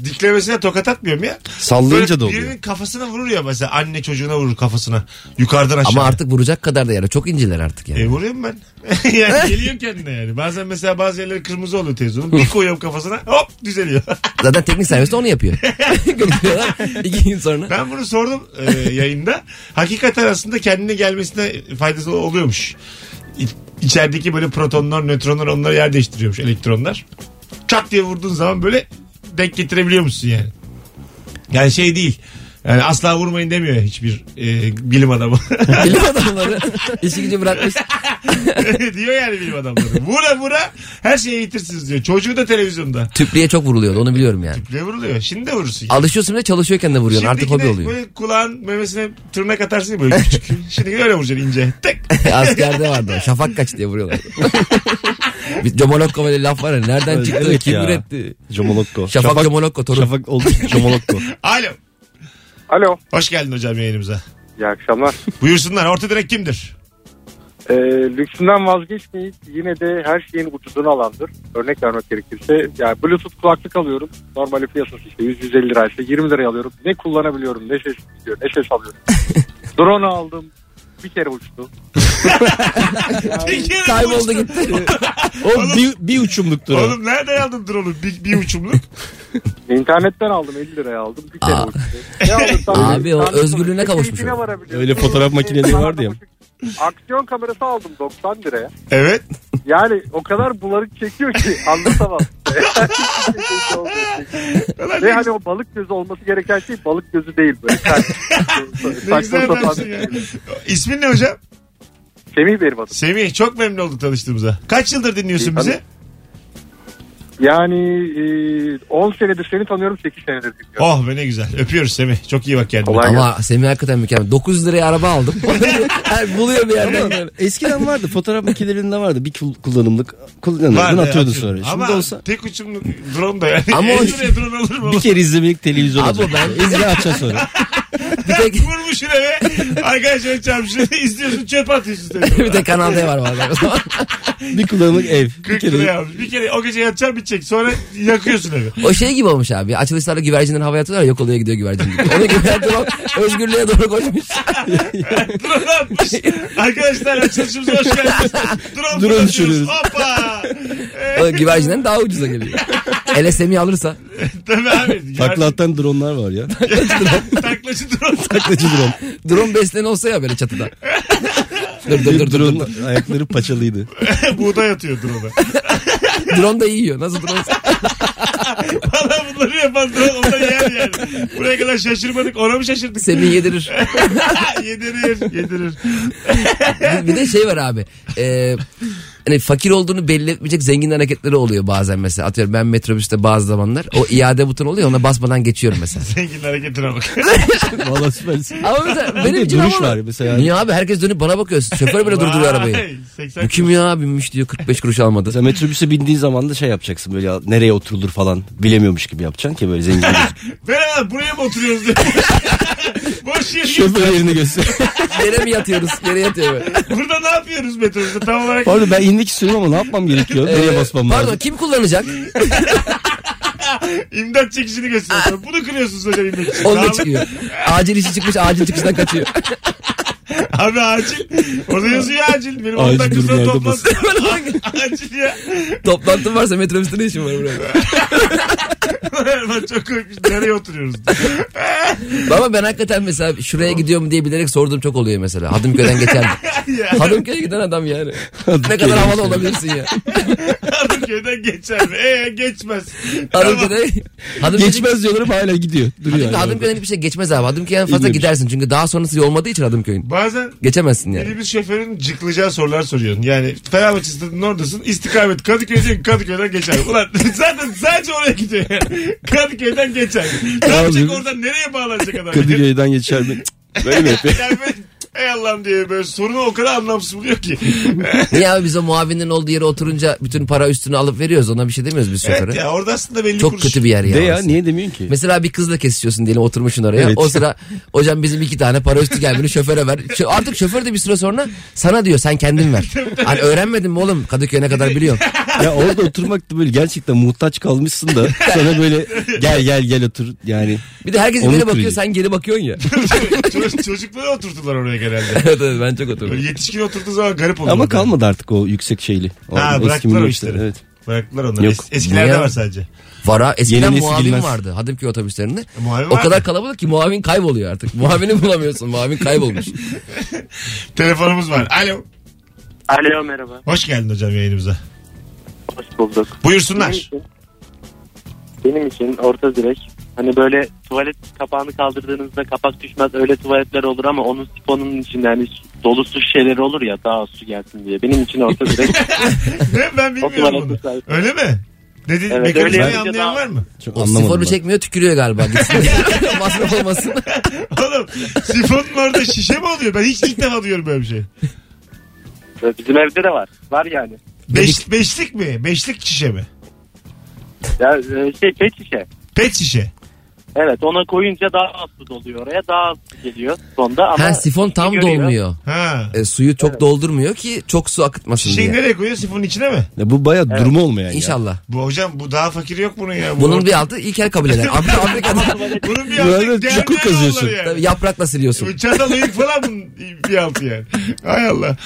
Speaker 2: diklemesine tokat atmıyorum ya.
Speaker 8: Sallayınca
Speaker 2: Böyle
Speaker 8: da oluyor.
Speaker 2: Birinin kafasına vurur ya mesela anne çocuğuna vurur kafasına. Yukarıdan aşağı.
Speaker 4: Ama artık vuracak kadar da yara. Çok inceler artık yani.
Speaker 2: E vuruyorum ben. yani geliyor kendine yani. Bazen mesela bazı yerleri kırmızı oluyor televizyonun. Bir koyuyorum kafasına hop düzeliyor.
Speaker 4: Zaten teknik servis de onu yapıyor. Götürüyorlar iki gün sonra.
Speaker 2: ben bunu sordum e, yayında. Hakikaten aslında kendine gelmesine faydası oluyormuş. İ- İçerideki böyle protonlar, nötronlar onları yer değiştiriyormuş elektronlar. Çat diye vurduğun zaman böyle denk getirebiliyor musun yani? Yani şey değil. Yani asla vurmayın demiyor hiçbir e, bilim adamı.
Speaker 4: Bilim adamları işi gücü bırakmış.
Speaker 2: diyor yani bilim adamları. Vura vura her şeyi eğitirsiniz diyor. Çocuğu da televizyonda.
Speaker 4: Tüplüye çok vuruluyordu onu biliyorum yani.
Speaker 2: Ne vuruluyor? Şimdi de vurursun.
Speaker 4: Alışıyorsun bir de çalışıyorken de vuruyorsun. Artık
Speaker 2: Şimdiki
Speaker 4: hobi
Speaker 2: de
Speaker 4: oluyor.
Speaker 2: Böyle kulağın memesine tırnak atarsın ya böyle küçük. Şimdi öyle vuracaksın ince. Tek.
Speaker 4: Askerde vardı. o. Şafak kaç diye vuruyorlar. bir Comolokko böyle laf var ya. Nereden çıktı?
Speaker 8: Evet
Speaker 4: kim
Speaker 8: ya.
Speaker 4: üretti?
Speaker 8: Jomolokko.
Speaker 4: Şafak, Comolokko torun.
Speaker 8: Şafak oldu. Jomolokko.
Speaker 2: Alo.
Speaker 5: Alo.
Speaker 2: Hoş geldin hocam yayınımıza.
Speaker 5: İyi akşamlar.
Speaker 2: Buyursunlar. Orta direk kimdir?
Speaker 5: Ee, lüksünden vazgeçmeyip yine de her şeyin ucuzunu alandır. Örnek vermek gerekirse yani bluetooth kulaklık alıyorum. Normali piyasası işte 100-150 liraysa 20 liraya alıyorum. Ne kullanabiliyorum ne ses istiyor ne ses alıyorum. Drone aldım bir kere uçtu.
Speaker 2: Bir kere
Speaker 4: Kayboldu
Speaker 2: uçtu.
Speaker 4: gitti.
Speaker 8: O bir, bir uçumluktur o.
Speaker 2: Oğlum nereden aldın drone'u? Bir, bir uçumluk.
Speaker 5: İnternetten aldım 50 liraya aldım bir kere
Speaker 4: Aa.
Speaker 5: uçtu. Ne alırsam
Speaker 4: Abi o
Speaker 5: alıyorum.
Speaker 4: özgürlüğüne kavuşmuş
Speaker 5: Keyfine
Speaker 4: o.
Speaker 5: varabiliyorum.
Speaker 8: Öyle fotoğraf makineleri vardı ya.
Speaker 5: Aksiyon kamerası aldım 90 liraya.
Speaker 2: Evet.
Speaker 5: Yani o kadar bulanık çekiyor ki anlatamam.
Speaker 2: Ulan
Speaker 5: Ve
Speaker 2: ne
Speaker 5: hani o balık gözü olması gereken şey balık gözü değil böyle. Saç-
Speaker 2: Ne
Speaker 5: saçma
Speaker 2: güzel
Speaker 5: sapan.
Speaker 2: adamsın ya. İsmin ne hocam?
Speaker 5: Semih benim adım.
Speaker 2: Semih çok memnun olduk tanıştığımıza. Kaç yıldır dinliyorsun
Speaker 5: İyi,
Speaker 2: bizi?
Speaker 5: Yani e, 10 senedir seni tanıyorum 8 senedir dinliyorum.
Speaker 2: Oh be ne güzel. Öpüyoruz Semih. Çok iyi bak kendine.
Speaker 5: Kolay
Speaker 4: Ama Semih hakikaten mükemmel. 900 liraya araba aldım. Her buluyor bir yerden.
Speaker 8: Eskiden vardı fotoğraf makinelerinde vardı bir kul- kullanımlık
Speaker 2: Var
Speaker 8: kullanımlık
Speaker 2: da
Speaker 8: atıyordun
Speaker 2: yapıyorum.
Speaker 8: sonra. Şimdi
Speaker 2: Ama
Speaker 8: olsa
Speaker 2: tek uçumlu drone da yani.
Speaker 4: Ama
Speaker 2: Ama
Speaker 4: o-
Speaker 2: drone olur mu?
Speaker 8: bir kere izlemelik televizyon
Speaker 4: Abi
Speaker 8: olacak.
Speaker 4: ben-
Speaker 8: İzle açacaksın sonra.
Speaker 4: Bir tek,
Speaker 2: Vurmuşsun eve. Arkadaşlar çarpmışsın. İzliyorsun çöp atıyorsun. tabii.
Speaker 4: bir tek Kanal D var vallahi. o zaman.
Speaker 3: Bir kullanımlık ev. Bir
Speaker 2: 40 lira
Speaker 3: kere
Speaker 2: yapmış. Bir kere o gece yatacaksın bitecek. Sonra yakıyorsun evi.
Speaker 4: o şey gibi olmuş abi. Açılışlarda güvercinleri havaya atıyorlar yok oluyor gidiyor güvercin gibi. Onun gibi her drone özgürlüğe doğru koşmuş.
Speaker 2: Drone atmış. Arkadaşlar açılışımıza hoş geldiniz. Drone,
Speaker 3: Drone
Speaker 2: Drone
Speaker 3: düşürüyoruz.
Speaker 2: Hoppa.
Speaker 4: O güvercinden daha ucuza geliyor. LSM'i alırsa.
Speaker 2: Tabii abi.
Speaker 3: takla atan dronlar var ya.
Speaker 2: Taklacı drone.
Speaker 3: Taklacı drone.
Speaker 4: Drone beslen olsa ya böyle çatıda. dur dur dur
Speaker 3: Benim
Speaker 4: dur. dur.
Speaker 3: drone ayakları paçalıydı.
Speaker 2: Buğday atıyor drone'a.
Speaker 4: Drone da iyi yiyor. Nasıl drone? olsa?
Speaker 2: Valla bunları yapan drone ondan yer yani. Buraya kadar şaşırmadık. Ona mı şaşırdık?
Speaker 4: Semih yedirir.
Speaker 2: yedirir. Yedirir.
Speaker 4: bir, bir de şey var abi. Ee, hani fakir olduğunu belli etmeyecek zengin hareketleri oluyor bazen mesela. Atıyorum ben metrobüste bazı zamanlar o iade butonu oluyor ona basmadan geçiyorum mesela.
Speaker 2: Zengin hareketine bak.
Speaker 3: Valla süpersin.
Speaker 4: Ama mesela
Speaker 3: Bir
Speaker 4: benim
Speaker 3: de
Speaker 4: için
Speaker 3: duruş
Speaker 4: ama-
Speaker 3: var mesela.
Speaker 4: Niye abi herkes dönüp bana bakıyor. Şoför bile durduruyor arabayı.
Speaker 2: Vay, 80
Speaker 4: Bu kim ya binmiş diyor 45 kuruş almadı.
Speaker 3: Mesela metrobüse bindiğin zaman da şey yapacaksın böyle ya, nereye oturulur falan bilemiyormuş gibi yapacaksın ki böyle zengin. gözüküyor.
Speaker 2: Merhaba buraya mı oturuyoruz diye. Boş yer.
Speaker 3: Şoför yerini göster.
Speaker 4: Yere mi yatıyoruz? Yere yatıyor böyle.
Speaker 2: Burada ne yapıyoruz metrobüste tam olarak?
Speaker 3: Pardon ben inmek istiyorum ama ne yapmam gerekiyor? Nereye
Speaker 4: Ee,
Speaker 3: basmam
Speaker 4: Pardon
Speaker 3: lazım?
Speaker 4: kim kullanacak?
Speaker 2: İmdat çekişini gösteriyorsun. Bunu kırıyorsunuz hocam inmek için.
Speaker 4: Onunla
Speaker 2: Tamam.
Speaker 4: çıkıyor. Acil işi çıkmış acil çıkıştan kaçıyor.
Speaker 2: Abi acil. Orada yazıyor acil. Benim
Speaker 3: Acil
Speaker 2: 10 dakikada
Speaker 3: durumlarda
Speaker 2: toplantı. acil ya.
Speaker 4: Toplantım varsa metrobüste ne işin var buraya?
Speaker 2: ben çok korkmuş. Nereye oturuyoruz?
Speaker 4: Ama ben hakikaten mesela şuraya gidiyor mu diye bilerek sorduğum çok oluyor mesela. Hadımköy'den geçer mi?
Speaker 2: ya.
Speaker 4: Hadımköy'e giden adam yani. ne kadar
Speaker 3: Hadımköy'e
Speaker 4: havalı olabilirsin ya.
Speaker 2: Hadımköy'den geçer mi? Ee geçmez.
Speaker 4: Hadımköy'de... Hadımköy'de
Speaker 3: Geçmez diyorlar ama hala gidiyor. Duruyor.
Speaker 4: Hadımköy,
Speaker 3: hala.
Speaker 4: Hadımköy'den hiçbir şey geçmez abi. Hadımköy'den fazla
Speaker 3: İlmemiş.
Speaker 4: gidersin. Çünkü daha sonrası olmadığı için Hadımköy'ün.
Speaker 2: Bazen
Speaker 4: Geçemezsin yani.
Speaker 2: Minibüs şoförünün cıklayacağı sorular soruyorsun. Yani Fenerbahçe stadının oradasın. İstikamet Kadıköy diyor ki Kadıköy'den geçer. Ulan zaten sadece oraya gidiyor yani. Kadıköy'den geçer. Ne yapacak oradan nereye bağlanacak adam?
Speaker 3: Kadıköy'den geçer mi? Cık, Böyle mi yapıyor?
Speaker 2: Yani ben, Ey Allah'ım diye böyle sorunu o kadar anlamsız buluyor ki.
Speaker 4: Niye abi biz o muavinin olduğu yere oturunca bütün para üstünü alıp veriyoruz. Ona bir şey demiyoruz biz şoföre.
Speaker 2: evet ya orada aslında belli
Speaker 4: Çok
Speaker 2: kuruş.
Speaker 4: kötü bir yer ya.
Speaker 3: De ya
Speaker 4: orası.
Speaker 3: niye demiyorsun ki?
Speaker 4: Mesela bir kızla kesişiyorsun diyelim oturmuşsun oraya.
Speaker 3: Evet.
Speaker 4: O sıra hocam bizim iki tane para üstü gelmeni şoföre ver. Şö- Artık şoför de bir süre sonra sana diyor sen kendin ver. hani öğrenmedin mi oğlum Kadıköy'e ne kadar biliyorum.
Speaker 3: ya orada oturmak da böyle gerçekten muhtaç kalmışsın da sana böyle gel gel gel otur yani.
Speaker 4: Bir de herkes
Speaker 3: Onu
Speaker 4: ileri bakıyor
Speaker 3: kırıyor.
Speaker 4: sen geri bakıyorsun ya.
Speaker 2: Çocuk- Çocukları oturttular oraya genelde.
Speaker 4: evet evet ben çok oturdum.
Speaker 2: Böyle yetişkin oturduğu zaman garip oluyor.
Speaker 3: Ama
Speaker 2: orada.
Speaker 3: kalmadı artık o yüksek şeyli. O
Speaker 2: Ha,
Speaker 3: eski
Speaker 2: bıraktılar o
Speaker 3: minibüsler,
Speaker 2: işleri.
Speaker 3: Evet.
Speaker 2: Bıraktılar onları.
Speaker 3: Yok.
Speaker 2: Es- eskilerde
Speaker 4: Niye?
Speaker 2: var sadece.
Speaker 4: Vara eskiden
Speaker 3: Yeni nesil
Speaker 4: muavin
Speaker 3: bilmez.
Speaker 4: vardı Hadımköy otobüslerinde.
Speaker 2: Muavin
Speaker 4: o
Speaker 2: var
Speaker 4: kadar
Speaker 2: mı?
Speaker 4: kalabalık ki muavin kayboluyor artık. Muavini bulamıyorsun muavin kaybolmuş.
Speaker 2: Telefonumuz var. Alo.
Speaker 5: Alo merhaba.
Speaker 2: Hoş geldin hocam yayınımıza.
Speaker 5: Hoş bulduk.
Speaker 2: Buyursunlar.
Speaker 5: Benim için, benim için orta direk hani böyle tuvalet kapağını kaldırdığınızda kapak düşmez öyle tuvaletler olur ama onun sifonunun içinde hani su- dolu su şişeleri olur ya daha az su gelsin diye. Benim için orta direk
Speaker 2: Ne? ben
Speaker 5: o
Speaker 2: bilmiyorum bunu.
Speaker 5: tuvalet sahip.
Speaker 2: Öyle mi? Ne dedi?
Speaker 5: öyle
Speaker 2: mekanizmayı
Speaker 5: yapınca
Speaker 2: anlayan
Speaker 5: daha-
Speaker 2: var mı?
Speaker 3: Çok
Speaker 4: O
Speaker 3: anlamadım
Speaker 4: sifonu
Speaker 3: ben.
Speaker 4: çekmiyor tükürüyor galiba. Gitsin. Masraf olmasın.
Speaker 2: Oğlum sifonun orada şişe mi oluyor? Ben hiç ilk defa duyuyorum böyle bir şey.
Speaker 5: Bizim evde de var. Var yani.
Speaker 2: Beş, beşlik mi? Beşlik şişe mi?
Speaker 5: Ya e, şey pet şişe.
Speaker 2: Pet şişe.
Speaker 5: Evet ona koyunca daha az su doluyor oraya daha az su geliyor sonda ama
Speaker 4: Ha sifon tam
Speaker 5: görüyor.
Speaker 4: dolmuyor.
Speaker 2: Ha.
Speaker 4: E, suyu çok doldurmuyor ki çok su akıtmasın
Speaker 2: Şişeyi
Speaker 4: diye.
Speaker 2: nereye koyuyor? Sifonun içine mi?
Speaker 3: Ya bu baya durumu olmayan ya.
Speaker 4: İnşallah.
Speaker 2: Bu hocam bu daha fakir yok bunun ya. Bu
Speaker 4: Bunun bir altı ilkel kabileler. Afrika, Afrika'da
Speaker 2: bunun bir
Speaker 3: Bu arada
Speaker 2: altı
Speaker 3: çukur
Speaker 2: değerli
Speaker 3: kazıyorsun.
Speaker 2: yolları yani.
Speaker 4: tabii yaprakla siliyorsun.
Speaker 2: Bu Çatal ıyık falan bunun bir altı yani. Hay Allah.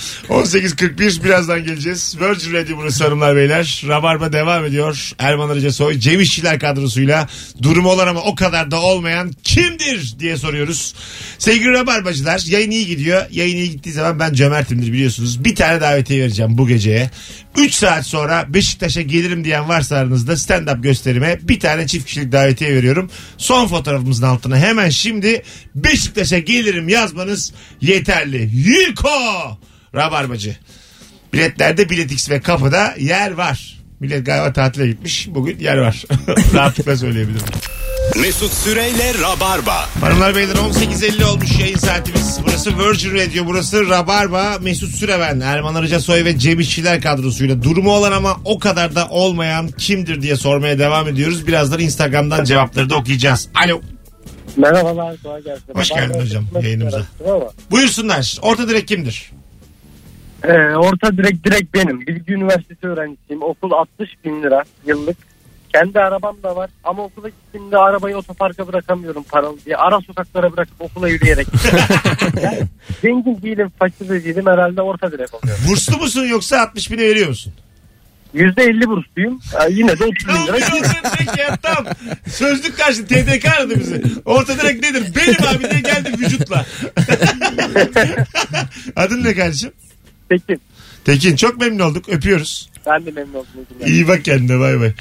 Speaker 2: 18.41 birazdan geleceğiz. Virgin Radio burası hanımlar beyler. Rabarba devam ediyor. Erman Arıca Soy, Cem İşçiler kadrosuyla durumu olan ama o kadar da olmayan kimdir diye soruyoruz. Sevgili Rabarbacılar yayın iyi gidiyor. Yayın iyi gittiği zaman ben cömertimdir biliyorsunuz. Bir tane davetiye vereceğim bu geceye. 3 saat sonra Beşiktaş'a gelirim diyen varsa aranızda stand-up gösterime bir tane çift kişilik davetiye veriyorum. Son fotoğrafımızın altına hemen şimdi Beşiktaş'a gelirim yazmanız yeterli. Yiko! Rabarbacı. Biletlerde Bilet X ve kapıda yer var. Millet galiba tatile gitmiş. Bugün yer var. Rahatlıkla söyleyebilirim.
Speaker 1: Mesut Süreyle Rabarba.
Speaker 2: Hanımlar beyler 18.50 olmuş yayın saatimiz. Burası Virgin Radio, burası Rabarba. Mesut Süreven, Erman Arıca Soy ve Cem İşçiler kadrosuyla durumu olan ama o kadar da olmayan kimdir diye sormaya devam ediyoruz. Birazdan Instagram'dan cevapları da okuyacağız. Alo.
Speaker 5: Merhabalar kolay gelsin.
Speaker 2: Hoş geldin
Speaker 5: Ben
Speaker 2: hocam
Speaker 5: öğretmen
Speaker 2: yayınımıza.
Speaker 5: olarak ama,
Speaker 2: Buyursunlar. Orta direk kimdir?
Speaker 5: e, orta direkt direkt benim. Bilgi Üniversitesi öğrencisiyim. Okul 60 bin lira yıllık. Kendi arabam da var ama okula gittiğimde arabayı otoparka bırakamıyorum paralı diye. Ara sokaklara bırakıp okula yürüyerek. Yani zengin değilim, fakir de değilim. Herhalde orta direkt oluyorum.
Speaker 2: Burslu musun yoksa 60 bine veriyor musun?
Speaker 5: %50 bursluyum. E, yine de 30
Speaker 2: Ne
Speaker 5: bin
Speaker 2: oluyor
Speaker 5: lira.
Speaker 2: orta direk ya tam. Sözlük karşı TDK aradı bizi. Orta direk nedir? Benim abi diye geldi vücutla. Adın ne kardeşim?
Speaker 5: Peki.
Speaker 2: Tekin çok memnun olduk. Öpüyoruz.
Speaker 5: Ben de memnun oldum.
Speaker 2: İyi bak kendine bay bay.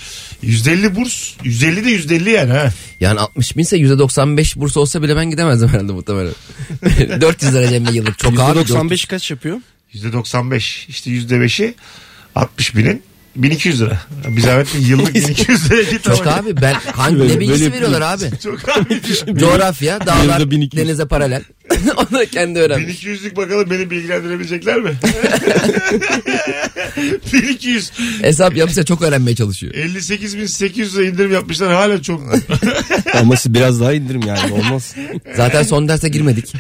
Speaker 2: 150 burs. 150 de 150 yani ha.
Speaker 4: Yani 60 binse %95 burs olsa bile ben gidemezdim herhalde muhtemelen. 400 lira cebimde yıllık. Çok ağır.
Speaker 3: 95 kaç yapıyor?
Speaker 2: %95 işte %5'i 60 binin 1200 lira. Bir zahmet bir yıllık 1200 lira git
Speaker 4: Çok
Speaker 2: ama.
Speaker 4: abi ben hangi
Speaker 8: Böyle-
Speaker 4: ne bilgisi
Speaker 8: böyle-
Speaker 4: veriyorlar abi?
Speaker 2: Çok abi diyor.
Speaker 4: Coğrafya, dağlar,
Speaker 8: Yılda 1200.
Speaker 4: denize paralel. Onu kendi öğrenmiş.
Speaker 2: 1200'lük bakalım beni bilgilendirebilecekler mi? 1200.
Speaker 4: Hesap yapsa çok öğrenmeye çalışıyor.
Speaker 2: 58.800 lira indirim yapmışlar hala çok.
Speaker 8: Ama siz biraz daha indirim yani olmaz.
Speaker 4: Zaten son derse girmedik.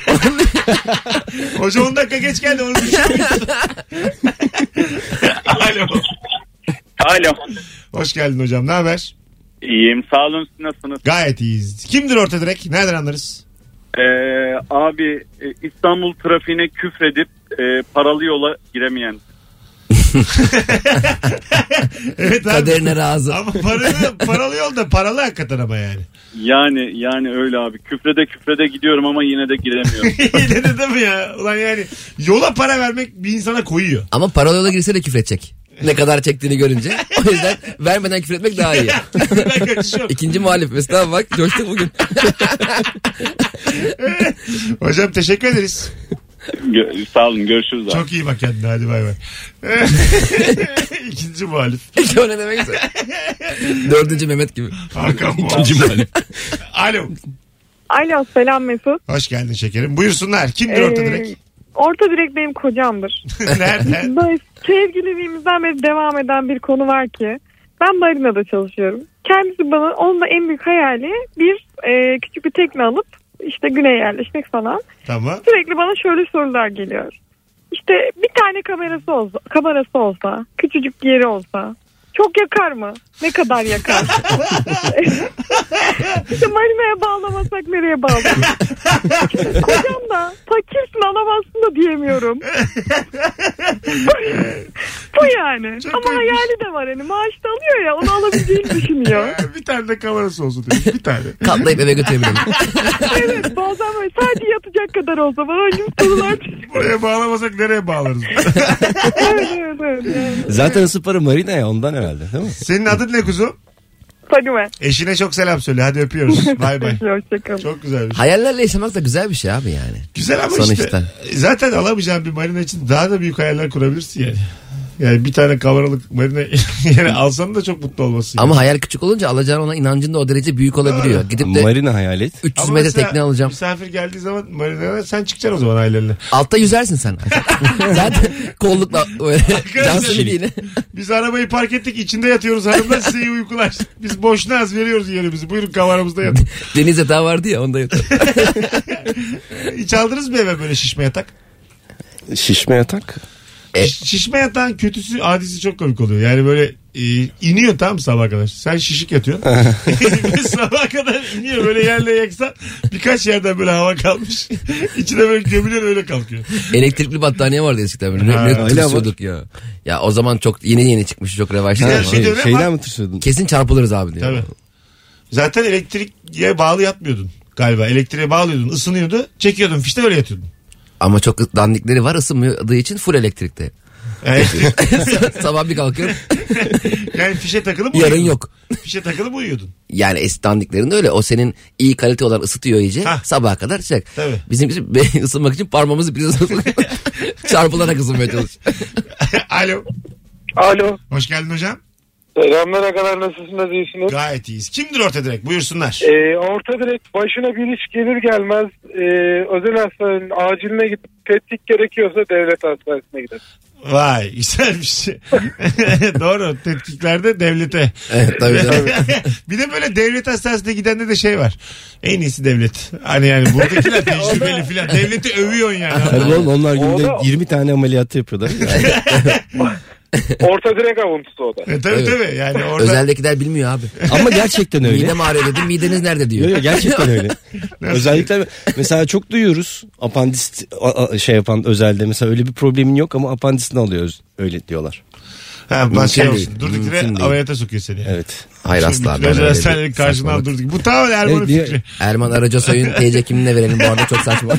Speaker 2: Hoca 10 dakika geç geldi onu düşünmüyorsun. Alo.
Speaker 10: Alo.
Speaker 2: Hoş geldin hocam ne haber?
Speaker 10: İyiyim. Sağ olun. Siz nasılsınız?
Speaker 2: Gayet iyiyiz. Kimdir orta direk? Nereden anlarız?
Speaker 10: Ee, abi e, İstanbul trafiğine küfredip e, paralı yola giremeyen.
Speaker 2: Evet abi.
Speaker 4: Kaderine razı.
Speaker 2: Ama paralı, paralı yol da paralı hakikaten ama yani.
Speaker 10: Yani yani öyle abi. Küfrede küfrede gidiyorum ama yine de giremiyorum.
Speaker 2: Yine de değil mi ya? Ulan yani yola para vermek bir insana koyuyor.
Speaker 4: Ama paralı yola girse de küfredecek. Ne kadar çektiğini görünce. O yüzden vermeden küfretmek daha iyi.
Speaker 2: ben kaçışıyorum.
Speaker 4: İkinci muhalif. Mesela bak coştu bugün.
Speaker 2: Hocam teşekkür ederiz.
Speaker 10: Gö- sağ olun. Görüşürüz abi.
Speaker 2: Çok iyi bak kendine hadi bay bay. İkinci muhalif.
Speaker 4: o ne demekse. Dördüncü Mehmet gibi.
Speaker 2: Hakan muhalif. Alo.
Speaker 6: Alo selam Mesut.
Speaker 2: Hoş geldin şekerim. Buyursunlar. Kimdir
Speaker 6: Ee,
Speaker 2: orta direk?
Speaker 6: Orta direkt benim kocamdır.
Speaker 2: Nerede?
Speaker 6: Böyle sevgililiğimizden beri devam eden bir konu var ki. Ben Marina'da çalışıyorum. Kendisi bana onun da en büyük hayali bir e, küçük bir tekne alıp işte güneye yerleşmek falan.
Speaker 2: tamam.
Speaker 6: Sürekli bana şöyle sorular geliyor. İşte bir tane kamerası olsa, kamerası olsa, küçücük bir yeri olsa çok yakar mı? Ne kadar yakar? işte marinaya bağlamasak nereye bağlamak? Kocam da fakirsin alamazsın da diyemiyorum. Bu yani.
Speaker 2: Çok
Speaker 6: Ama
Speaker 2: iyiymiş.
Speaker 6: hayali de var hani maaş da alıyor ya onu alabileceğini düşünüyor.
Speaker 2: Ee, bir tane de kamerası olsun dedim. Bir tane.
Speaker 4: Katlayıp eve götürebilirim.
Speaker 6: evet bazen böyle sadece yatacak kadar olsa bana öyle bir sorular çıkıyor.
Speaker 2: Buraya bağlamasak nereye bağlarız?
Speaker 6: Evet evet evet. Yani.
Speaker 8: Zaten ısı para marina ya ondan herhalde değil mi?
Speaker 2: Senin adın ne kuzum?
Speaker 6: Fadime.
Speaker 2: Eşine çok selam söyle. Hadi öpüyoruz. Bay bay.
Speaker 6: Hoşçakalın.
Speaker 2: Çok güzelmiş.
Speaker 4: Hayallerle yaşamak da güzel bir şey abi yani.
Speaker 2: Güzel ama
Speaker 4: Sonuçta.
Speaker 2: işte zaten alamayacağın bir marina için daha da büyük hayaller kurabilirsin yani. Yani bir tane kavralık marina yani alsan da çok mutlu olmasın.
Speaker 4: Ama hayal küçük olunca alacağın ona inancın da o derece büyük olabiliyor. Gidip de
Speaker 8: Marina hayal et.
Speaker 4: 300 metre
Speaker 2: mesela
Speaker 4: tekne alacağım.
Speaker 2: Misafir geldiği zaman marinaya sen çıkacaksın o zaman ailenle.
Speaker 4: Altta yüzersin sen. Zaten kollukla böyle can simidi
Speaker 2: Biz arabayı park ettik içinde yatıyoruz hanımlar size iyi uykular. Biz boşuna az veriyoruz yerimizi. Buyurun kavramızda yatın.
Speaker 4: Deniz yatağı vardı ya onda yatıyor.
Speaker 2: Hiç aldınız mı eve böyle şişme yatak?
Speaker 8: Şişme yatak.
Speaker 4: E-
Speaker 2: Şiş- şişme yatağın kötüsü adisi çok komik oluyor. Yani böyle e, iniyor tam sabah kadar. Sen şişik yatıyorsun. sabah kadar iniyor böyle yerle yaksan birkaç yerden böyle hava kalmış. İçine böyle gömülüyor öyle kalkıyor.
Speaker 4: Elektrikli battaniye vardı eskiden böyle. Ne,
Speaker 2: Ha,
Speaker 4: ne
Speaker 8: öyle
Speaker 4: tırsıyorduk ya. Ya o zaman çok yeni yeni çıkmış çok
Speaker 2: Güzel
Speaker 4: revaçlı.
Speaker 2: şey diyor,
Speaker 8: şeyden
Speaker 2: ama-
Speaker 8: mi tırsıyordun?
Speaker 4: Kesin çarpılırız abi diyor.
Speaker 2: Tabii. Zaten elektriğe bağlı yatmıyordun galiba. Elektriğe bağlıyordun ısınıyordu çekiyordun fişte öyle yatıyordun.
Speaker 4: Ama çok dandikleri var ısınmadığı için full elektrikte.
Speaker 2: Yani,
Speaker 4: Sabah bir kalkıyorum
Speaker 2: yani fişe takılıp
Speaker 4: yarın
Speaker 2: uyuyordun.
Speaker 4: yok.
Speaker 2: Fişe takılıp uyuyordun.
Speaker 4: Yani es- dandiklerin de öyle. O senin iyi kalite olan ısıtıyor iyice.
Speaker 2: Hah.
Speaker 4: Sabaha kadar şey.
Speaker 2: Tabii.
Speaker 4: Bizim için be- ısınmak için parmağımızı biraz çarpılarak ısınmaya çalış.
Speaker 2: Alo.
Speaker 5: Alo.
Speaker 2: Hoş geldin hocam.
Speaker 5: Selamlara kadar nasılsınız iyisiniz?
Speaker 2: Gayet iyiyiz. Kimdir orta direkt? Buyursunlar.
Speaker 5: Ee, orta direkt başına bir iş gelir gelmez e, özel hastanenin aciline gidip tetkik gerekiyorsa devlet hastanesine gider.
Speaker 2: Vay güzelmiş. Doğru tetkiklerde devlete.
Speaker 4: Evet, tabii tabii.
Speaker 2: bir de böyle devlet hastanesine gidende de şey var. En iyisi devlet. Hani yani buradakiler tecrübeli filan. Devleti övüyorsun yani.
Speaker 3: Tabii oğlum onlar günde
Speaker 5: Orada-
Speaker 3: 20 tane ameliyatı yapıyorlar.
Speaker 5: Orta direk avuntusu o da.
Speaker 2: E, tabii tabii yani orada
Speaker 4: Özeldekiler bilmiyor abi.
Speaker 3: Ama gerçekten öyle.
Speaker 4: Midem ağrıyor dedim mideniz nerede diyor.
Speaker 3: Yok yok gerçekten öyle. Özellikle mesela çok duyuyoruz apandist a- a- şey yapan özelde mesela öyle bir problemin yok ama apandisini alıyoruz öyle diyorlar.
Speaker 2: ha, ben şey
Speaker 4: Mümkün
Speaker 2: olsun.
Speaker 4: değil,
Speaker 2: Durduk yere
Speaker 4: mümkün değil.
Speaker 2: ameliyata sokuyor seni. Evet.
Speaker 3: Evet.
Speaker 4: Hayır asla. ben
Speaker 2: Özel
Speaker 4: öyle
Speaker 2: hastanenin
Speaker 4: bir
Speaker 2: karşından
Speaker 4: saçmalık.
Speaker 2: durduk. Bu tamamen Erman'ın
Speaker 3: Evet, niye-
Speaker 2: fikri.
Speaker 4: Erman Aracasoy'un TC kimliğine verelim bu arada çok saçma.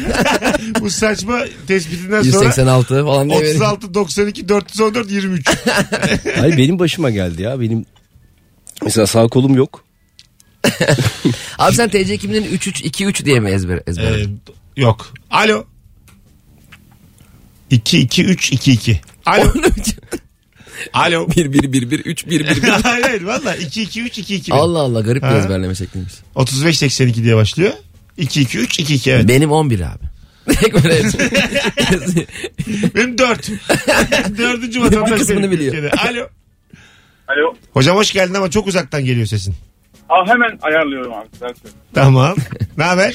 Speaker 2: Bu saçma tespitinden sonra
Speaker 4: 186 falan diye verelim.
Speaker 2: 36 92 414 23.
Speaker 3: Hayır benim başıma geldi ya benim mesela sağ kolum yok.
Speaker 4: Abi sen TC kimliğini 3-3-2-3 diye mi ezber, ezber?
Speaker 2: Ee, yok. Alo. 2 2 3 2 2. Alo. Alo.
Speaker 4: 1 1 1 1 3 1 1 1
Speaker 2: hayır hayır valla 2 2 3 2 2.
Speaker 4: Allah Allah garip bir
Speaker 2: Ha.
Speaker 4: ezberleme şekliymiş.
Speaker 2: 35 82 diye başlıyor. 2 2 3 2 2 evet.
Speaker 4: Benim 11 abi. Direkt böyle
Speaker 2: Benim 4. Dördüncü vatandaş
Speaker 4: Bir kısmını
Speaker 2: benim
Speaker 4: biliyor.
Speaker 2: Türkiye'de. Alo.
Speaker 10: Alo.
Speaker 2: Hocam hoş geldin ama çok uzaktan geliyor sesin.
Speaker 10: Aa, hemen ayarlıyorum abi. Güzel söylüyorsun.
Speaker 2: Tamam. Ne haber?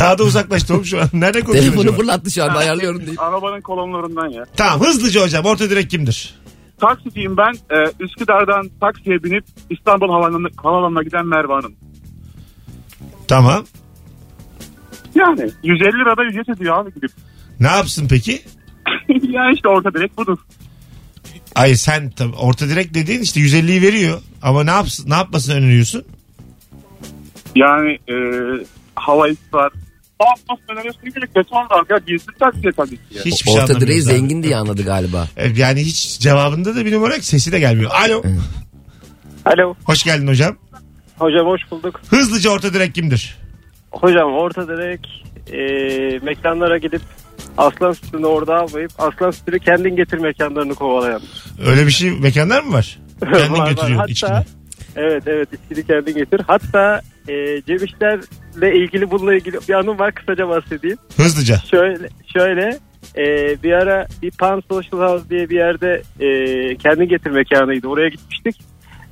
Speaker 2: Daha da uzaklaştı oğlum şu an. Nerede konuşuyorsun?
Speaker 4: telefonu
Speaker 2: acaba?
Speaker 4: fırlattı şu anda ayarlıyorum deyip.
Speaker 10: Arabanın kolonlarından ya.
Speaker 2: Tamam hızlıca hocam orta direk kimdir?
Speaker 10: Taksiciyim ben. Ee, Üsküdar'dan taksiye binip İstanbul Havalimanı, Havalimanı'na giden Merve Hanım.
Speaker 2: Tamam.
Speaker 10: Yani 150 lirada ücret ediyor abi gidip.
Speaker 2: Ne yapsın peki?
Speaker 10: ya işte orta direkt budur.
Speaker 2: Ay sen tabii orta direk dediğin işte 150'yi veriyor ama ne yapsın ne yapmasını öneriyorsun?
Speaker 10: Yani e, hava var. Daha fazla öneriyorsun ki beton var ya gizli taksiye tabii ki. ya.
Speaker 2: Hiçbir şey
Speaker 4: Orta direği
Speaker 2: anlamıyoruz abi.
Speaker 4: zengin diye anladı galiba.
Speaker 2: E, Yani hiç cevabında da bir numara yok. Sesi de gelmiyor. Alo.
Speaker 7: Alo.
Speaker 2: Hoş geldin hocam.
Speaker 7: Hocam hoş bulduk.
Speaker 2: Hızlıca orta direk kimdir?
Speaker 7: Hocam orta direkt e, mekanlara gidip aslan sütünü orada almayıp aslan sütünü kendin getir mekanlarını kovalayan.
Speaker 2: Öyle bir şey mekanlar mı var?
Speaker 7: Var,
Speaker 2: Kendin
Speaker 7: var.
Speaker 2: götürüyor
Speaker 7: Hatta-
Speaker 2: içkini.
Speaker 7: Evet evet içkini kendin getir. Hatta e, Cemişler'le ilgili bununla ilgili bir anım var kısaca bahsedeyim.
Speaker 2: Hızlıca.
Speaker 7: Şöyle şöyle e, bir ara bir Pan Social House diye bir yerde e, kendin getir mekanıydı. Oraya gitmiştik.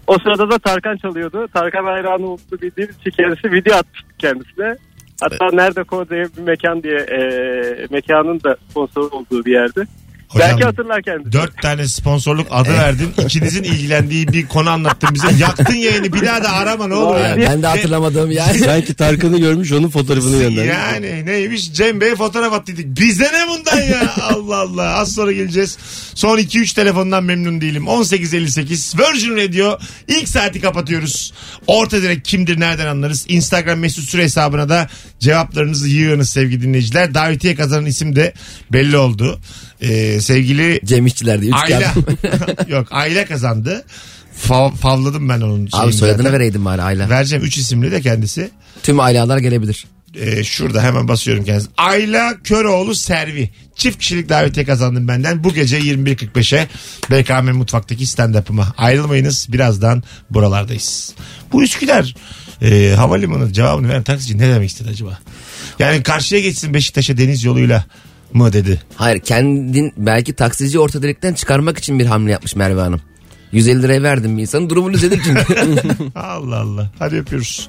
Speaker 7: O sırada da Tarkan çalıyordu. Tarkan hayranı olduğu bildiğimiz için kendisi video atmıştı kendisine. Hatta nerede ko diye bir mekan diye e, mekanın da sponsoru olduğu bir yerde. Belki
Speaker 2: Hocam
Speaker 7: hatırlar kendisi.
Speaker 2: dört tane sponsorluk adı verdin. İkinizin ilgilendiği bir konu anlattın bize. Yaktın yayını bir daha da arama ne olur.
Speaker 4: Yani
Speaker 2: Yani.
Speaker 4: ben de hatırlamadığım yani.
Speaker 3: Sanki Tarkan'ı görmüş onun fotoğrafını göndermiş.
Speaker 2: Yani neymiş Cem Bey'e fotoğraf attıydık. Bize ne bundan ya Allah Allah. Az sonra geleceğiz. Son 2-3 telefondan memnun değilim. 18.58 Virgin Radio ilk saati kapatıyoruz. Orta direkt kimdir nereden anlarız? Instagram mesut süre hesabına da cevaplarınızı yığınız sevgili dinleyiciler. Davetiye kazanan isim de belli oldu. Ee, sevgili
Speaker 4: Cem İşçiler diye. Üç
Speaker 2: Ayla.
Speaker 4: kağıt.
Speaker 2: Yok Ayla kazandı. Fav- favladım ben onun.
Speaker 4: Abi
Speaker 2: şeyini
Speaker 4: soyadını
Speaker 2: Şey zaten.
Speaker 4: vereydim bari Ayla.
Speaker 2: Vereceğim 3 isimli de kendisi.
Speaker 4: Tüm Aylalar gelebilir.
Speaker 2: Ee, şurada hemen basıyorum kendisi. Ayla Köroğlu Servi. Çift kişilik davetiye kazandım benden. Bu gece 21.45'e BKM Mutfak'taki stand-up'ıma. Ayrılmayınız birazdan buralardayız. Bu Üsküdar e, havalimanı cevabını veren taksici ne demek istedi acaba? Yani karşıya geçsin Beşiktaş'a deniz yoluyla mı dedi.
Speaker 4: Hayır kendin belki taksici orta direkten çıkarmak için bir hamle yapmış Merve Hanım. 150 liraya verdim bir insanın durumu düzelir çünkü.
Speaker 2: Allah Allah. Hadi öpüyoruz.